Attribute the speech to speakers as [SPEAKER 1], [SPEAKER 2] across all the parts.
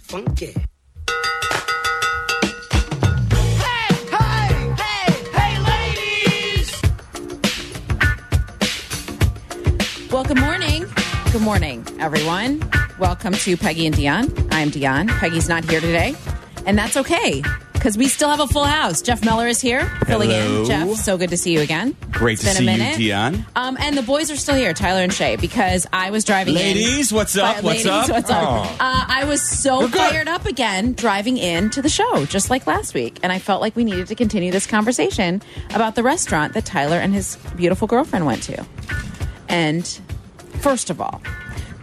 [SPEAKER 1] funky.
[SPEAKER 2] Hey, hey, hey, hey, ladies!
[SPEAKER 3] Well, good morning. Good morning, everyone. Welcome to Peggy and Dion. I'm Dion. Peggy's not here today, and that's okay because we still have a full house. Jeff Miller is here filling
[SPEAKER 4] Hello.
[SPEAKER 3] in. Jeff, so good to see you again.
[SPEAKER 4] Great
[SPEAKER 3] It's
[SPEAKER 4] to
[SPEAKER 3] been
[SPEAKER 4] see
[SPEAKER 3] a
[SPEAKER 4] you,
[SPEAKER 3] minute.
[SPEAKER 4] Dion.
[SPEAKER 3] Um, and the boys are still here, Tyler and Shay, because I was driving. in-
[SPEAKER 4] Ladies, what's up?
[SPEAKER 3] But
[SPEAKER 4] What's up?
[SPEAKER 3] ladies, What's up? Uh, I was so
[SPEAKER 4] We're good.
[SPEAKER 3] fired up again driving in to the show, just like last week, and I felt like we needed to continue this conversation about the restaurant that Tyler and his beautiful girlfriend went to. And first of all,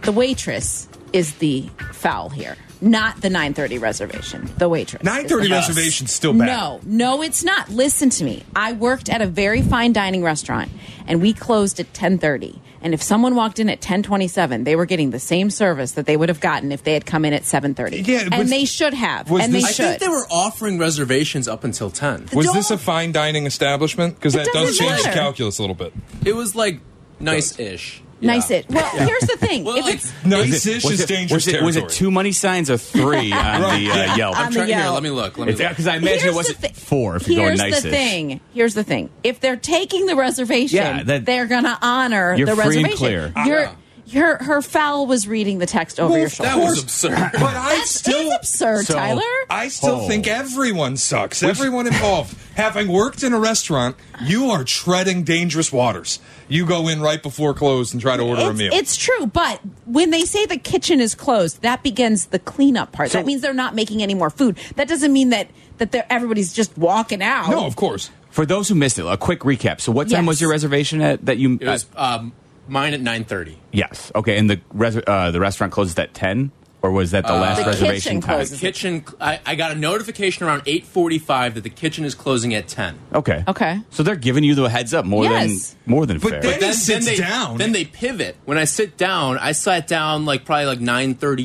[SPEAKER 3] the waitress is the foul here, not the 9:30 reservation. The waitress. is the
[SPEAKER 5] 930
[SPEAKER 3] foul.
[SPEAKER 5] reservation's still bad.
[SPEAKER 3] No, no, it's not. Listen to me. I worked at a very fine dining restaurant, and we closed at ten thirty. And if someone walked in at ten twenty seven, they were getting the same service that they would have gotten if they had come in at seven thirty.
[SPEAKER 5] Yeah,
[SPEAKER 3] and
[SPEAKER 5] was-
[SPEAKER 3] they should have.
[SPEAKER 5] was
[SPEAKER 3] And they
[SPEAKER 5] this-
[SPEAKER 6] I
[SPEAKER 3] should.
[SPEAKER 6] think they were offering reservations up until 10.
[SPEAKER 5] Was this a fine dining establishment? Because
[SPEAKER 3] It
[SPEAKER 5] that does
[SPEAKER 3] doesn't
[SPEAKER 5] change the
[SPEAKER 3] matter.
[SPEAKER 5] calculus a little bit.
[SPEAKER 6] It was like nice ish.
[SPEAKER 3] nice. It. Well, here's the thing.
[SPEAKER 6] Well,
[SPEAKER 3] if
[SPEAKER 6] like,
[SPEAKER 3] it's
[SPEAKER 5] Nice ish
[SPEAKER 4] Was
[SPEAKER 5] is
[SPEAKER 4] it-
[SPEAKER 5] dangerous
[SPEAKER 4] was it, was it
[SPEAKER 5] territory.
[SPEAKER 4] two money signs or three on the uh, Yelp?
[SPEAKER 3] On
[SPEAKER 6] I'm
[SPEAKER 3] the
[SPEAKER 6] trying here.
[SPEAKER 3] Yelp.
[SPEAKER 6] Let me look. Let me look.
[SPEAKER 4] Because I imagine
[SPEAKER 3] Here's
[SPEAKER 4] it wasn't
[SPEAKER 3] the thi-
[SPEAKER 4] four if you're going
[SPEAKER 3] here's
[SPEAKER 4] nice
[SPEAKER 3] the thing. Here's the thing. If they're taking the reservation,
[SPEAKER 4] Yeah, that-
[SPEAKER 3] they're going to honor
[SPEAKER 4] You're
[SPEAKER 3] the
[SPEAKER 4] free and
[SPEAKER 3] reservation.
[SPEAKER 4] clear.
[SPEAKER 3] You're,
[SPEAKER 6] Ah.
[SPEAKER 3] you're, her foul was reading the text over your shoulder.
[SPEAKER 6] That was absurd.
[SPEAKER 5] But I
[SPEAKER 3] That's
[SPEAKER 5] still,
[SPEAKER 3] it's absurd,
[SPEAKER 4] So-
[SPEAKER 3] Tyler.
[SPEAKER 5] I still
[SPEAKER 4] Oh.
[SPEAKER 5] think everyone sucks. Everyone involved. Having worked in a restaurant, you are treading dangerous waters. You go in right before close and try to order a
[SPEAKER 3] It's,
[SPEAKER 5] meal.
[SPEAKER 3] it's true, but when they say the kitchen is closed, that begins the cleanup part. that means they're not making any more food. That doesn't mean that that they're, everybody's just walking out.
[SPEAKER 5] no, of course.
[SPEAKER 4] For those who missed it, a quick recap. So, what time
[SPEAKER 3] Yes.
[SPEAKER 4] was your reservation at that you? uh,
[SPEAKER 6] It was um, mine at 9.30.
[SPEAKER 4] yes. Okay, and the res- uh, the restaurant closes at ten, or was that the last
[SPEAKER 3] Uh, The kitchen
[SPEAKER 4] reservation time?
[SPEAKER 3] closes.
[SPEAKER 6] Kitchen, I, I got a notification around 8.45 that the kitchen is closing at 10.
[SPEAKER 4] Okay.
[SPEAKER 3] Okay.
[SPEAKER 4] So they're giving you the heads up more
[SPEAKER 3] Yes.
[SPEAKER 4] than more than
[SPEAKER 5] But
[SPEAKER 4] fair.
[SPEAKER 5] then- sits
[SPEAKER 6] they,
[SPEAKER 5] down.
[SPEAKER 6] Then they pivot. When I sit down, I sat down like probably like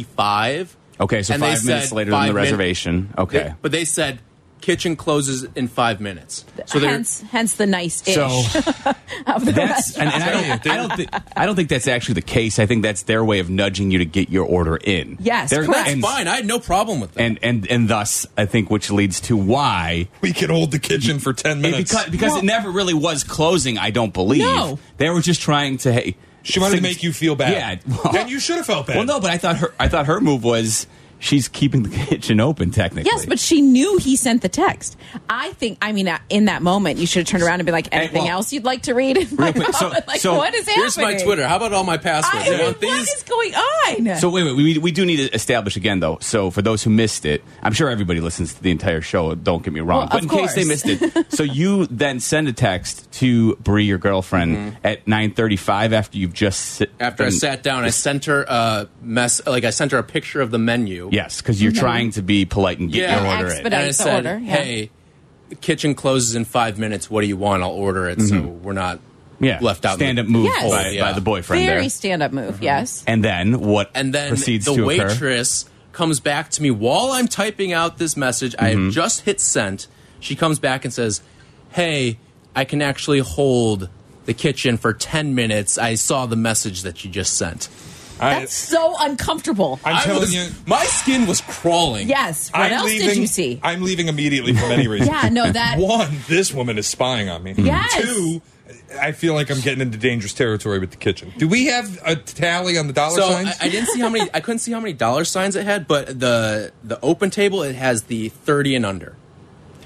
[SPEAKER 6] 9.35.
[SPEAKER 4] okay, so
[SPEAKER 6] and they
[SPEAKER 4] five minutes
[SPEAKER 6] said
[SPEAKER 4] later than
[SPEAKER 6] five
[SPEAKER 4] the
[SPEAKER 6] min-
[SPEAKER 4] reservation.
[SPEAKER 6] They-
[SPEAKER 4] okay.
[SPEAKER 6] but they said kitchen closes in five minutes. So they're
[SPEAKER 3] hence, hence the nice ish.
[SPEAKER 4] so
[SPEAKER 3] of the
[SPEAKER 4] that's and,
[SPEAKER 3] restaurant.
[SPEAKER 4] and I don't, I don't think I don't think that's actually the case. I think that's their way of nudging you to get your order in.
[SPEAKER 3] Yes,
[SPEAKER 4] They're-
[SPEAKER 3] correct.
[SPEAKER 4] and-
[SPEAKER 6] fine. I had no problem with that.
[SPEAKER 4] and and and thus I think which leads to why
[SPEAKER 5] We could hold the kitchen for 10 minutes.
[SPEAKER 4] because because it never really was closing. I don't believe
[SPEAKER 3] No.
[SPEAKER 4] they were just trying to hey.
[SPEAKER 5] she wanted to
[SPEAKER 4] things-
[SPEAKER 5] make you feel bad.
[SPEAKER 4] Yeah, well,
[SPEAKER 5] and you should have felt bad.
[SPEAKER 4] well, no, but I thought her I thought her move was she's keeping the kitchen open technically.
[SPEAKER 3] Yes, but she knew he sent the text. I think. I mean, uh, in that moment, you should have turned around and been like, "Anything
[SPEAKER 4] well,
[SPEAKER 3] else you'd like to read?" In my
[SPEAKER 4] quick, so-
[SPEAKER 3] moment, like,
[SPEAKER 4] so
[SPEAKER 3] what is
[SPEAKER 6] Here's
[SPEAKER 3] happening?
[SPEAKER 6] my Twitter. How about all my passwords?
[SPEAKER 3] I,
[SPEAKER 6] You want
[SPEAKER 3] what
[SPEAKER 6] these?
[SPEAKER 3] is going on?
[SPEAKER 4] So wait, wait, we, we do need to establish again though. So for those who missed it, I'm sure everybody listens to the entire show. Don't get me wrong,
[SPEAKER 3] Well,
[SPEAKER 4] but
[SPEAKER 3] of
[SPEAKER 4] in case they
[SPEAKER 3] course.
[SPEAKER 4] missed it, so you then send a text to Bree, your girlfriend, at 9:35 after you've just sit,
[SPEAKER 6] Mm-hmm. After I
[SPEAKER 4] been-
[SPEAKER 6] sat down, I sent her a mess. Like I sent her a picture of the menu.
[SPEAKER 4] Yes, because you're trying to be polite and get
[SPEAKER 6] Mm-hmm. Yeah.
[SPEAKER 4] your
[SPEAKER 6] And
[SPEAKER 4] order
[SPEAKER 3] expedite.
[SPEAKER 4] in.
[SPEAKER 6] And I
[SPEAKER 3] The
[SPEAKER 6] said,
[SPEAKER 3] order, yeah.
[SPEAKER 6] "Hey, the kitchen closes in five minutes. What do you want? I'll order it, so
[SPEAKER 4] Mm-hmm.
[SPEAKER 6] we're not
[SPEAKER 4] Yeah,
[SPEAKER 6] left out." in the
[SPEAKER 4] Stand up move
[SPEAKER 3] Yes.
[SPEAKER 4] by,
[SPEAKER 6] Yeah.
[SPEAKER 4] by the boyfriend
[SPEAKER 3] Very
[SPEAKER 4] there.
[SPEAKER 3] stand-up move. Yes.
[SPEAKER 4] and then what?
[SPEAKER 6] and then
[SPEAKER 4] proceeds
[SPEAKER 6] the
[SPEAKER 4] to occur.
[SPEAKER 6] waitress comes back to me while I'm typing out this message. I
[SPEAKER 4] Mm-hmm.
[SPEAKER 6] have just hit sent. She comes back and says, "Hey, I can actually hold the kitchen for ten minutes. I saw the message that you just sent."
[SPEAKER 5] I,
[SPEAKER 3] That's so uncomfortable.
[SPEAKER 5] I'm
[SPEAKER 6] I
[SPEAKER 5] telling
[SPEAKER 6] was-
[SPEAKER 5] you.
[SPEAKER 6] my skin was crawling.
[SPEAKER 3] Yes. What
[SPEAKER 5] I'm
[SPEAKER 3] else
[SPEAKER 5] leaving,
[SPEAKER 3] did you see?
[SPEAKER 5] I'm leaving immediately for many reasons.
[SPEAKER 3] yeah, no, that.
[SPEAKER 5] One, this woman is spying on me.
[SPEAKER 3] Yes.
[SPEAKER 5] Two, I feel like I'm getting into dangerous territory with the kitchen. Do we have a tally on the dollar
[SPEAKER 6] So I,
[SPEAKER 5] signs?
[SPEAKER 6] I didn't see how many. I couldn't see how many dollar signs it had, but the the open table it has the thirty and under.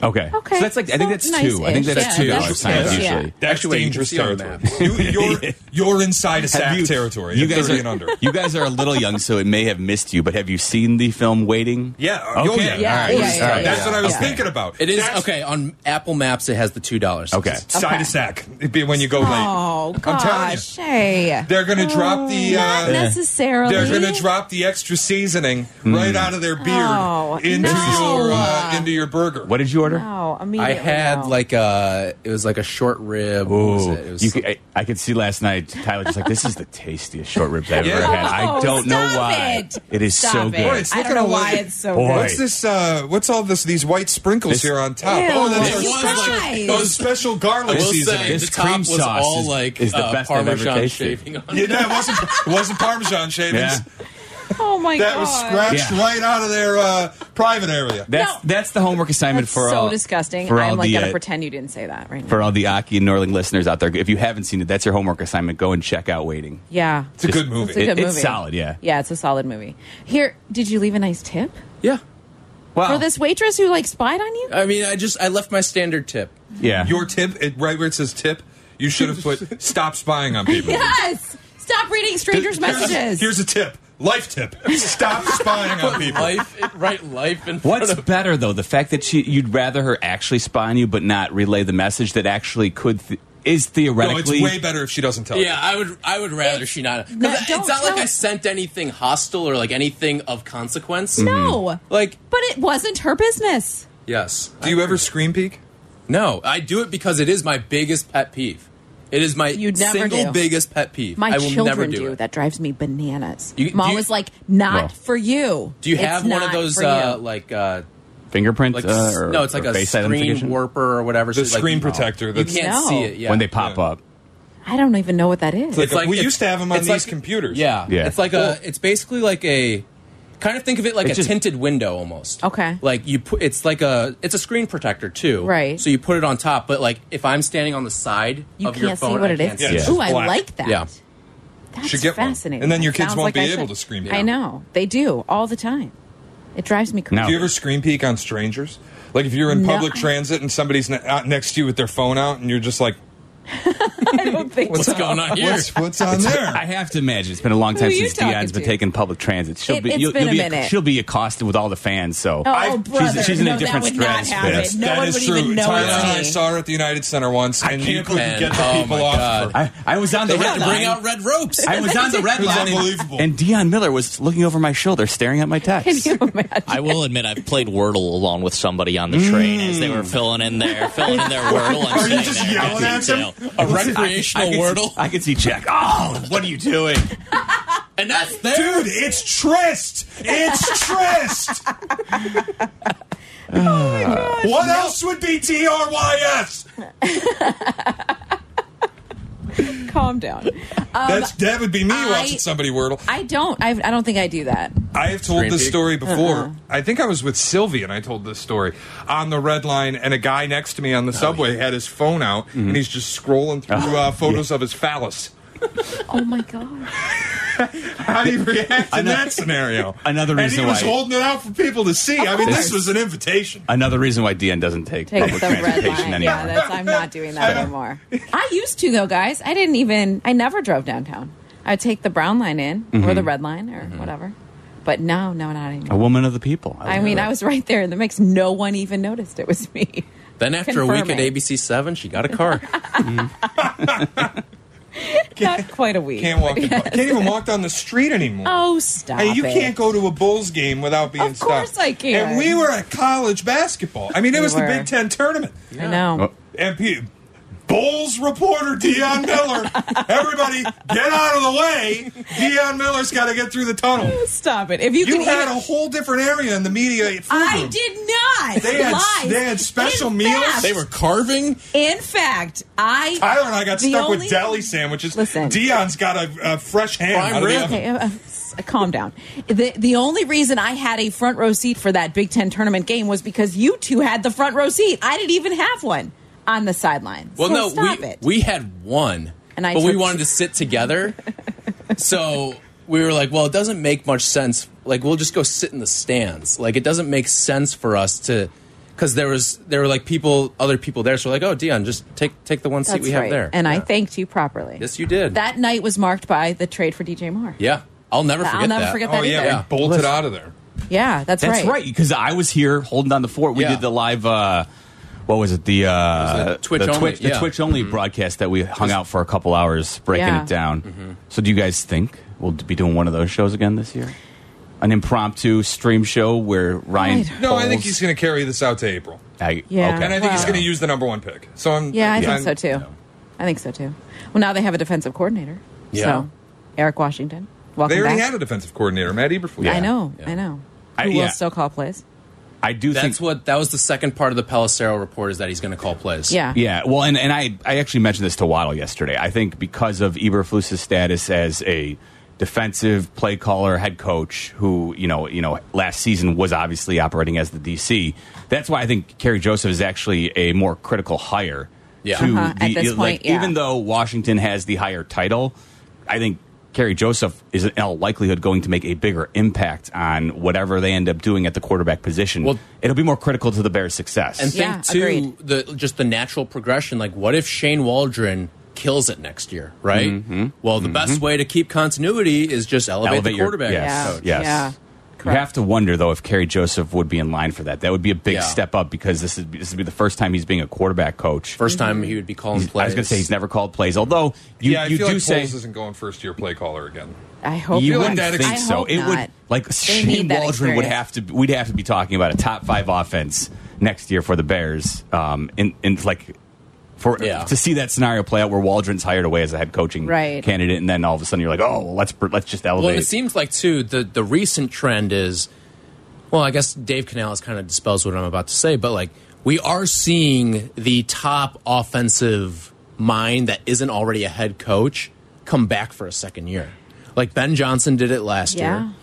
[SPEAKER 4] Okay.
[SPEAKER 3] Okay.
[SPEAKER 4] So that's like I
[SPEAKER 3] So
[SPEAKER 4] think that's
[SPEAKER 3] nice-ish.
[SPEAKER 4] two. I think that's
[SPEAKER 3] Yeah,
[SPEAKER 4] two
[SPEAKER 3] that's
[SPEAKER 4] dollar
[SPEAKER 3] good.
[SPEAKER 4] signs
[SPEAKER 3] Yeah.
[SPEAKER 4] usually.
[SPEAKER 5] That's
[SPEAKER 6] Actually, wait, you can
[SPEAKER 5] dangerous
[SPEAKER 6] see on the map.
[SPEAKER 5] territory. You, you're you're inside a sack territory.
[SPEAKER 4] You
[SPEAKER 5] at
[SPEAKER 4] guys
[SPEAKER 5] 30
[SPEAKER 4] are
[SPEAKER 5] and under.
[SPEAKER 4] You guys are a little young, so it may have missed you. But have you seen the film Waiting?
[SPEAKER 5] Yeah.
[SPEAKER 4] Okay.
[SPEAKER 5] oh,
[SPEAKER 3] Yeah,
[SPEAKER 5] yeah. All
[SPEAKER 3] yeah,
[SPEAKER 5] right.
[SPEAKER 3] yeah,
[SPEAKER 5] All right.
[SPEAKER 3] yeah.
[SPEAKER 5] That's what I was
[SPEAKER 3] Yeah.
[SPEAKER 5] thinking about.
[SPEAKER 6] It is
[SPEAKER 5] That's
[SPEAKER 6] okay on Apple Maps. It has the two dollars.
[SPEAKER 4] Okay.
[SPEAKER 5] Side
[SPEAKER 3] Okay.
[SPEAKER 5] of sack. It'd be when you go late.
[SPEAKER 3] Oh
[SPEAKER 5] I'm telling you.
[SPEAKER 3] gosh, hey.
[SPEAKER 5] They're going to drop the.
[SPEAKER 3] Oh, Not
[SPEAKER 5] Uh,
[SPEAKER 3] necessarily.
[SPEAKER 5] they're going to drop the extra seasoning right
[SPEAKER 6] Hmm.
[SPEAKER 5] out of their beard
[SPEAKER 3] Oh,
[SPEAKER 5] into
[SPEAKER 3] no.
[SPEAKER 5] your uh, into your burger.
[SPEAKER 4] What did you order?
[SPEAKER 3] Oh,
[SPEAKER 6] I
[SPEAKER 3] immediately.
[SPEAKER 6] had
[SPEAKER 3] no.
[SPEAKER 6] like a. It was like a short rib. What was it? It was
[SPEAKER 4] You
[SPEAKER 6] some-
[SPEAKER 4] could, I, I could see last night Tyler just like this is the tastiest short ribs I've
[SPEAKER 5] Yeah.
[SPEAKER 4] ever had.
[SPEAKER 3] Oh,
[SPEAKER 4] I don't know
[SPEAKER 3] stop
[SPEAKER 4] why.
[SPEAKER 3] it.
[SPEAKER 4] it is
[SPEAKER 3] Stop
[SPEAKER 4] so
[SPEAKER 3] it.
[SPEAKER 4] good.
[SPEAKER 5] It's
[SPEAKER 3] I
[SPEAKER 5] looking
[SPEAKER 3] don't know
[SPEAKER 5] a
[SPEAKER 3] why
[SPEAKER 5] little-
[SPEAKER 3] it's so
[SPEAKER 4] Boy.
[SPEAKER 3] good.
[SPEAKER 5] What's this? Uh, what's all this? These white sprinkles
[SPEAKER 4] This-
[SPEAKER 5] here on top.
[SPEAKER 3] Ew.
[SPEAKER 5] oh, that's
[SPEAKER 3] It
[SPEAKER 5] our
[SPEAKER 3] was
[SPEAKER 5] special,
[SPEAKER 3] like-
[SPEAKER 5] those special garlic
[SPEAKER 6] I will
[SPEAKER 5] seasoning.
[SPEAKER 6] say,
[SPEAKER 4] This
[SPEAKER 6] the top
[SPEAKER 4] cream
[SPEAKER 6] was
[SPEAKER 4] sauce
[SPEAKER 6] all
[SPEAKER 4] is-
[SPEAKER 6] like
[SPEAKER 4] is the
[SPEAKER 6] uh,
[SPEAKER 4] best I've ever
[SPEAKER 6] Parmesan
[SPEAKER 4] tasted.
[SPEAKER 6] shaving on. it.
[SPEAKER 5] Yeah, no, it wasn't, it wasn't Parmesan shavings.
[SPEAKER 4] Yeah.
[SPEAKER 3] Oh my
[SPEAKER 5] That
[SPEAKER 3] god.
[SPEAKER 5] was scratched
[SPEAKER 4] Yeah.
[SPEAKER 5] right out of their uh, private area.
[SPEAKER 4] That's
[SPEAKER 3] No.
[SPEAKER 4] that's the homework assignment
[SPEAKER 3] That's
[SPEAKER 4] for
[SPEAKER 3] so
[SPEAKER 4] all.
[SPEAKER 3] disgusting.
[SPEAKER 4] For all
[SPEAKER 3] I'm like
[SPEAKER 4] the,
[SPEAKER 3] gonna
[SPEAKER 4] uh,
[SPEAKER 3] pretend you didn't say that right now.
[SPEAKER 4] for all the Aki and Norling listeners out there. If you haven't seen it, that's your homework assignment. Go and check out Waiting.
[SPEAKER 3] yeah.
[SPEAKER 5] It's a good movie.
[SPEAKER 3] It's a good
[SPEAKER 4] It-
[SPEAKER 3] movie.
[SPEAKER 4] it's solid, yeah.
[SPEAKER 3] Yeah, it's a solid movie. Here, did you leave a nice tip
[SPEAKER 6] Yeah.
[SPEAKER 4] Well,
[SPEAKER 3] for this waitress who like spied on you?
[SPEAKER 6] I mean, I just I left my standard tip.
[SPEAKER 4] yeah,
[SPEAKER 5] Your tip, it, right where it says tip, you should have put stop spying on people.
[SPEAKER 3] Yes. Stop reading strangers' messages.
[SPEAKER 5] Here's, here's a tip. Life tip. Stop spying on people.
[SPEAKER 6] Life, right? Life and
[SPEAKER 4] What's better though, the fact that she, you'd rather her actually spy on you, but not relay the message that actually could th- is
[SPEAKER 5] No, it's
[SPEAKER 4] theoretically.
[SPEAKER 5] way better if she doesn't tell
[SPEAKER 6] Yeah, I would. I would rather she not. 'cause
[SPEAKER 3] No,
[SPEAKER 6] it's
[SPEAKER 3] don't
[SPEAKER 6] not like
[SPEAKER 3] tell-
[SPEAKER 6] I sent anything hostile or like anything of consequence.
[SPEAKER 3] no.
[SPEAKER 6] Hmm. Like
[SPEAKER 3] But it wasn't her business.
[SPEAKER 6] yes.
[SPEAKER 5] you. Do you ever scream peek?
[SPEAKER 6] No, I do it because it is my biggest pet peeve. It is my
[SPEAKER 3] You'd never
[SPEAKER 6] single
[SPEAKER 3] do.
[SPEAKER 6] biggest pet peeve.
[SPEAKER 3] My
[SPEAKER 6] I will
[SPEAKER 3] children
[SPEAKER 6] never
[SPEAKER 3] do.
[SPEAKER 6] do, it.
[SPEAKER 3] That drives me bananas.
[SPEAKER 6] You-
[SPEAKER 3] Mom
[SPEAKER 6] do you-
[SPEAKER 3] was like, "Not
[SPEAKER 4] Well.
[SPEAKER 3] for you."
[SPEAKER 6] Do you
[SPEAKER 3] It's
[SPEAKER 6] have one of
[SPEAKER 3] not
[SPEAKER 6] those
[SPEAKER 3] for you.
[SPEAKER 6] uh, like uh,
[SPEAKER 4] Fingerprint?
[SPEAKER 6] like
[SPEAKER 4] uh, or,
[SPEAKER 6] no? It's like
[SPEAKER 4] or
[SPEAKER 6] a
[SPEAKER 4] face
[SPEAKER 6] screen
[SPEAKER 4] identification?
[SPEAKER 6] warper or whatever.
[SPEAKER 5] The
[SPEAKER 6] so, like,
[SPEAKER 5] screen
[SPEAKER 6] you-
[SPEAKER 5] protector.
[SPEAKER 6] You
[SPEAKER 5] That's
[SPEAKER 6] can't
[SPEAKER 3] No.
[SPEAKER 6] see it. Yeah.
[SPEAKER 4] when they pop
[SPEAKER 5] Yeah.
[SPEAKER 4] up.
[SPEAKER 3] I don't even know what that is.
[SPEAKER 5] It's like-
[SPEAKER 6] It's
[SPEAKER 5] we used to have 'em on
[SPEAKER 6] it's
[SPEAKER 5] these computers.
[SPEAKER 6] Yeah,
[SPEAKER 4] Yeah.
[SPEAKER 6] It's like a. It's basically like a. Kind of think of it like
[SPEAKER 4] It's
[SPEAKER 6] a
[SPEAKER 4] just-
[SPEAKER 6] tinted window almost.
[SPEAKER 3] Okay.
[SPEAKER 6] Like you put, it's like a, it's a screen protector too.
[SPEAKER 3] Right.
[SPEAKER 6] So you put it on top, but like if I'm standing on the side
[SPEAKER 3] you
[SPEAKER 6] of your
[SPEAKER 3] can't see
[SPEAKER 6] phone,
[SPEAKER 3] what
[SPEAKER 6] I
[SPEAKER 3] it
[SPEAKER 6] can't
[SPEAKER 3] is.
[SPEAKER 6] see
[SPEAKER 5] Yeah, it's
[SPEAKER 3] Ooh,
[SPEAKER 5] just
[SPEAKER 3] I
[SPEAKER 5] black.
[SPEAKER 3] like that.
[SPEAKER 6] Yeah.
[SPEAKER 3] That's
[SPEAKER 5] Should get one.
[SPEAKER 3] fascinating.
[SPEAKER 5] And then your
[SPEAKER 3] That
[SPEAKER 5] kids
[SPEAKER 3] sounds
[SPEAKER 5] won't
[SPEAKER 3] like
[SPEAKER 5] be
[SPEAKER 3] I
[SPEAKER 5] able
[SPEAKER 3] should.
[SPEAKER 5] to scream
[SPEAKER 3] I
[SPEAKER 5] down.
[SPEAKER 3] know they do all the time. It drives me crazy.
[SPEAKER 4] No.
[SPEAKER 5] Do you ever screen peek on strangers? Like if you're in
[SPEAKER 3] No,
[SPEAKER 5] public
[SPEAKER 3] I-
[SPEAKER 5] transit and somebody's ne- out next to you with their phone out and you're just like,
[SPEAKER 3] I don't think
[SPEAKER 6] What's
[SPEAKER 3] so.
[SPEAKER 6] going on here?
[SPEAKER 5] what's, what's on there?
[SPEAKER 4] I have to imagine it's been a long time
[SPEAKER 3] Who are you
[SPEAKER 4] since Dion's
[SPEAKER 3] talking
[SPEAKER 4] been
[SPEAKER 3] to?
[SPEAKER 4] taking public transit. She'll
[SPEAKER 3] It-
[SPEAKER 4] be
[SPEAKER 3] it's
[SPEAKER 4] you'll,
[SPEAKER 3] been
[SPEAKER 4] you'll be
[SPEAKER 3] a minute.
[SPEAKER 4] she'll be accosted with all the fans. So
[SPEAKER 3] Oh,
[SPEAKER 5] I've- she's-
[SPEAKER 3] brother!
[SPEAKER 4] she's in a
[SPEAKER 3] no,
[SPEAKER 4] different
[SPEAKER 3] that would not
[SPEAKER 4] stratosphere.
[SPEAKER 3] happen.
[SPEAKER 4] That's-
[SPEAKER 3] no
[SPEAKER 5] That
[SPEAKER 3] one
[SPEAKER 5] is
[SPEAKER 3] would
[SPEAKER 5] true.
[SPEAKER 3] even know
[SPEAKER 5] Tyler
[SPEAKER 3] it's
[SPEAKER 5] and I
[SPEAKER 3] me.
[SPEAKER 5] saw her at the United Center once, and you couldn't
[SPEAKER 6] man.
[SPEAKER 5] get the
[SPEAKER 6] Oh,
[SPEAKER 5] people
[SPEAKER 6] my
[SPEAKER 5] off.
[SPEAKER 6] God.
[SPEAKER 5] Her.
[SPEAKER 4] I, I was on the
[SPEAKER 6] They
[SPEAKER 4] red
[SPEAKER 6] had to
[SPEAKER 4] line.
[SPEAKER 6] bring out red ropes.
[SPEAKER 4] I was on the red
[SPEAKER 5] It was
[SPEAKER 4] line, and,
[SPEAKER 5] unbelievable.
[SPEAKER 4] and Dion Miller was looking over my shoulder, staring at my
[SPEAKER 3] Can
[SPEAKER 4] text.
[SPEAKER 3] you imagine?
[SPEAKER 1] I will admit I've played Wordle along with somebody on the train as they were
[SPEAKER 3] Mm.
[SPEAKER 1] filling in their filling in their Wordle.
[SPEAKER 5] Are
[SPEAKER 1] I'm
[SPEAKER 5] you
[SPEAKER 1] sitting
[SPEAKER 5] just
[SPEAKER 1] there
[SPEAKER 5] yelling at them?
[SPEAKER 1] detail.
[SPEAKER 6] a recreational
[SPEAKER 4] could
[SPEAKER 6] wordle,
[SPEAKER 4] See, I could see Jack. Oh, what are you doing?
[SPEAKER 6] and that's there.
[SPEAKER 5] Dude, it's Trist. It's Trist.
[SPEAKER 3] Oh
[SPEAKER 5] What else would be T R Y S?
[SPEAKER 3] Um, Calm down.
[SPEAKER 5] That's that would be me
[SPEAKER 3] I-
[SPEAKER 5] watching somebody wordle.
[SPEAKER 3] I don't. I, I don't think I do that.
[SPEAKER 5] I have told
[SPEAKER 6] Screen
[SPEAKER 5] this
[SPEAKER 6] peek?
[SPEAKER 5] story before.
[SPEAKER 3] Uh-huh.
[SPEAKER 5] I think I was with Sylvie and I told this story on the red line, and a guy next to me on the subway had his phone out and he's just scrolling through uh, photos of his phallus.
[SPEAKER 3] Oh my god!
[SPEAKER 5] How do you react in
[SPEAKER 4] Ano-
[SPEAKER 5] that scenario?
[SPEAKER 4] Another reason
[SPEAKER 5] and he was
[SPEAKER 4] why-
[SPEAKER 5] holding it out for people to see. I mean, this
[SPEAKER 4] course.
[SPEAKER 5] was an invitation.
[SPEAKER 4] Another reason why Dion doesn't take,
[SPEAKER 3] Take
[SPEAKER 4] public
[SPEAKER 3] the red
[SPEAKER 4] transportation
[SPEAKER 3] line.
[SPEAKER 4] anymore.
[SPEAKER 3] Yeah, that's, I'm not doing that anymore. I used to though, guys. I didn't even. I never drove downtown. I'd take the brown line in
[SPEAKER 4] Mm-hmm.
[SPEAKER 3] or the red line or whatever. But no, no, not anymore.
[SPEAKER 4] A woman of the people.
[SPEAKER 3] I mean, I was right there in the mix. No one even noticed it was me.
[SPEAKER 6] Then after a week at
[SPEAKER 3] Confirming.
[SPEAKER 6] ABC Seven, she got a car.
[SPEAKER 3] Not quite a week.
[SPEAKER 5] Can't walk. Can't even walk down the street anymore.
[SPEAKER 3] Oh, stop!
[SPEAKER 5] Hey, you
[SPEAKER 3] it.
[SPEAKER 5] can't go to a Bulls game without being
[SPEAKER 3] Of course
[SPEAKER 5] stopped.
[SPEAKER 3] I can.
[SPEAKER 5] And we were at college basketball. I mean, it
[SPEAKER 3] We
[SPEAKER 5] was the
[SPEAKER 3] were.
[SPEAKER 5] Big Ten tournament.
[SPEAKER 3] I know.
[SPEAKER 4] Oh.
[SPEAKER 5] And P- Bulls reporter Dion Miller, everybody get out of the way. Dion Miller's got to get through the tunnel.
[SPEAKER 3] Stop it! If you,
[SPEAKER 5] You
[SPEAKER 3] can
[SPEAKER 5] had
[SPEAKER 3] even-
[SPEAKER 5] a whole different area in the media. food
[SPEAKER 3] I
[SPEAKER 5] room.
[SPEAKER 3] did not.
[SPEAKER 5] They had
[SPEAKER 3] Lies.
[SPEAKER 5] they had special
[SPEAKER 3] In
[SPEAKER 5] meals.
[SPEAKER 3] fact-
[SPEAKER 6] they were carving.
[SPEAKER 3] In fact, I.
[SPEAKER 5] Tyler and I got
[SPEAKER 3] The
[SPEAKER 5] stuck
[SPEAKER 3] only-
[SPEAKER 5] with deli sandwiches.
[SPEAKER 3] Listen.
[SPEAKER 5] Dion's got a, a fresh ham.
[SPEAKER 6] Prime
[SPEAKER 5] out of the
[SPEAKER 6] rib.
[SPEAKER 5] oven.
[SPEAKER 3] Okay, uh, uh, s- calm down. The the only reason I had a front row seat for that Big Ten tournament game was because you two had the front row seat. I didn't even have one on the sidelines.
[SPEAKER 6] Well,
[SPEAKER 3] So
[SPEAKER 6] no,
[SPEAKER 3] stop
[SPEAKER 6] we
[SPEAKER 3] it.
[SPEAKER 6] we had one,
[SPEAKER 3] And I
[SPEAKER 6] but we
[SPEAKER 3] took-
[SPEAKER 6] wanted to sit together, so we were like, well, it doesn't make much sense. Like, we'll just go sit in the stands. Like, it doesn't make sense for us to. Because there was there were like people, other people there, so we're like, oh, Dion, just take take the one seat
[SPEAKER 3] That's
[SPEAKER 6] we
[SPEAKER 3] right.
[SPEAKER 6] have there.
[SPEAKER 3] And I thanked you properly.
[SPEAKER 6] yes, you did.
[SPEAKER 3] That night was marked by the trade for DJ Moore.
[SPEAKER 6] yeah, I'll never forget
[SPEAKER 3] I'll never
[SPEAKER 6] that.
[SPEAKER 3] forget
[SPEAKER 5] Oh
[SPEAKER 3] that
[SPEAKER 5] yeah,
[SPEAKER 3] either.
[SPEAKER 5] we bolted out of there.
[SPEAKER 3] Yeah, that's,
[SPEAKER 4] That's
[SPEAKER 3] right.
[SPEAKER 4] right, because I was here holding down the fort. We
[SPEAKER 6] Yeah.
[SPEAKER 4] did the live. Uh, what was it? The, uh,
[SPEAKER 6] was the Twitch
[SPEAKER 4] the
[SPEAKER 6] only,
[SPEAKER 4] Twitch, the
[SPEAKER 6] yeah.
[SPEAKER 4] Twitch only broadcast that we hung out for a couple hours, breaking
[SPEAKER 3] Yeah.
[SPEAKER 4] it down. So, do you guys think we'll be doing one of those shows again this year? An impromptu stream show where Ryan.
[SPEAKER 3] I don't-
[SPEAKER 5] No, I think
[SPEAKER 4] Poles-
[SPEAKER 5] he's going to carry this out to April,
[SPEAKER 4] I,
[SPEAKER 3] Yeah.
[SPEAKER 4] okay.
[SPEAKER 5] and I think he's
[SPEAKER 3] Wow.
[SPEAKER 5] going to use the number one pick. So I'm.
[SPEAKER 3] Yeah, I think
[SPEAKER 5] I'm-
[SPEAKER 3] so too. I think so too. Well, now they have a defensive coordinator.
[SPEAKER 6] Yeah.
[SPEAKER 3] So, Eric Washington. Welcome
[SPEAKER 5] They already
[SPEAKER 3] back.
[SPEAKER 5] had a defensive coordinator, Matt Eberflus.
[SPEAKER 4] Yeah.
[SPEAKER 3] I know.
[SPEAKER 6] Yeah.
[SPEAKER 3] I know. Who
[SPEAKER 4] I-
[SPEAKER 3] will
[SPEAKER 4] yeah.
[SPEAKER 3] still call plays?
[SPEAKER 4] I do
[SPEAKER 6] That's
[SPEAKER 4] think
[SPEAKER 6] what that was the second part of the Pelissero report is that he's going to call plays.
[SPEAKER 3] Yeah.
[SPEAKER 4] Yeah, well, and, and I, I actually mentioned this to Waddle yesterday. I think because of Eberflus's status as a defensive play caller, head coach, who you know, you know, last season was obviously operating as the DC. That's why I think Kerry Joseph is actually a more critical hire.
[SPEAKER 6] Yeah.
[SPEAKER 4] to
[SPEAKER 3] Uh-huh, at
[SPEAKER 4] the- e-,
[SPEAKER 3] this
[SPEAKER 4] like,
[SPEAKER 3] point, yeah.
[SPEAKER 4] even though Washington has the higher title, I think Kerry Joseph is in all likelihood going to make a bigger impact on whatever they end up doing at the quarterback position.
[SPEAKER 6] Well-
[SPEAKER 4] it'll be more critical to the Bears' success.
[SPEAKER 6] And
[SPEAKER 3] Yeah,
[SPEAKER 6] think too
[SPEAKER 3] agreed.
[SPEAKER 6] the just the natural progression. Like, what if Shane Waldron kills it next year? Right. Well, the best way to keep continuity is just elevate, the quarterback.
[SPEAKER 4] Mm-hmm. Your, yes,
[SPEAKER 6] coach.
[SPEAKER 4] yes.
[SPEAKER 3] Yeah.
[SPEAKER 4] You have to wonder though if Kerry Joseph would be in line for that. That would be a big
[SPEAKER 6] Yeah.
[SPEAKER 4] step up because this is this would be the first time he's being a quarterback coach.
[SPEAKER 6] First time he would be calling plays.
[SPEAKER 4] Mm-hmm. I was going to say he's never called plays, although you,
[SPEAKER 5] yeah, I
[SPEAKER 4] you
[SPEAKER 5] feel
[SPEAKER 4] do
[SPEAKER 5] like
[SPEAKER 4] say
[SPEAKER 5] Foles isn't going first year play caller again.
[SPEAKER 3] I hope
[SPEAKER 4] you
[SPEAKER 3] not.
[SPEAKER 4] wouldn't
[SPEAKER 5] that
[SPEAKER 4] think
[SPEAKER 3] I
[SPEAKER 4] so.
[SPEAKER 3] hope
[SPEAKER 4] It would
[SPEAKER 3] not.
[SPEAKER 4] like Shane
[SPEAKER 3] need that
[SPEAKER 4] Waldron would
[SPEAKER 3] experience.
[SPEAKER 4] have to. We'd have to be talking about a top five offense next year for the Bears. Um, in in like for
[SPEAKER 6] Yeah.
[SPEAKER 4] to see that scenario play out where Waldron's hired away as a head coaching
[SPEAKER 3] Right.
[SPEAKER 4] candidate, and then all of a sudden you're like, oh, well, let's let's just elevate.
[SPEAKER 6] Well, and it seems like too the the recent trend is, well, I guess Dave Canales kind of dispels what I'm about to say, but like we are seeing the top offensive mind that isn't already a head coach come back for a second year. Like Ben Johnson did it last
[SPEAKER 3] Yeah.
[SPEAKER 6] year.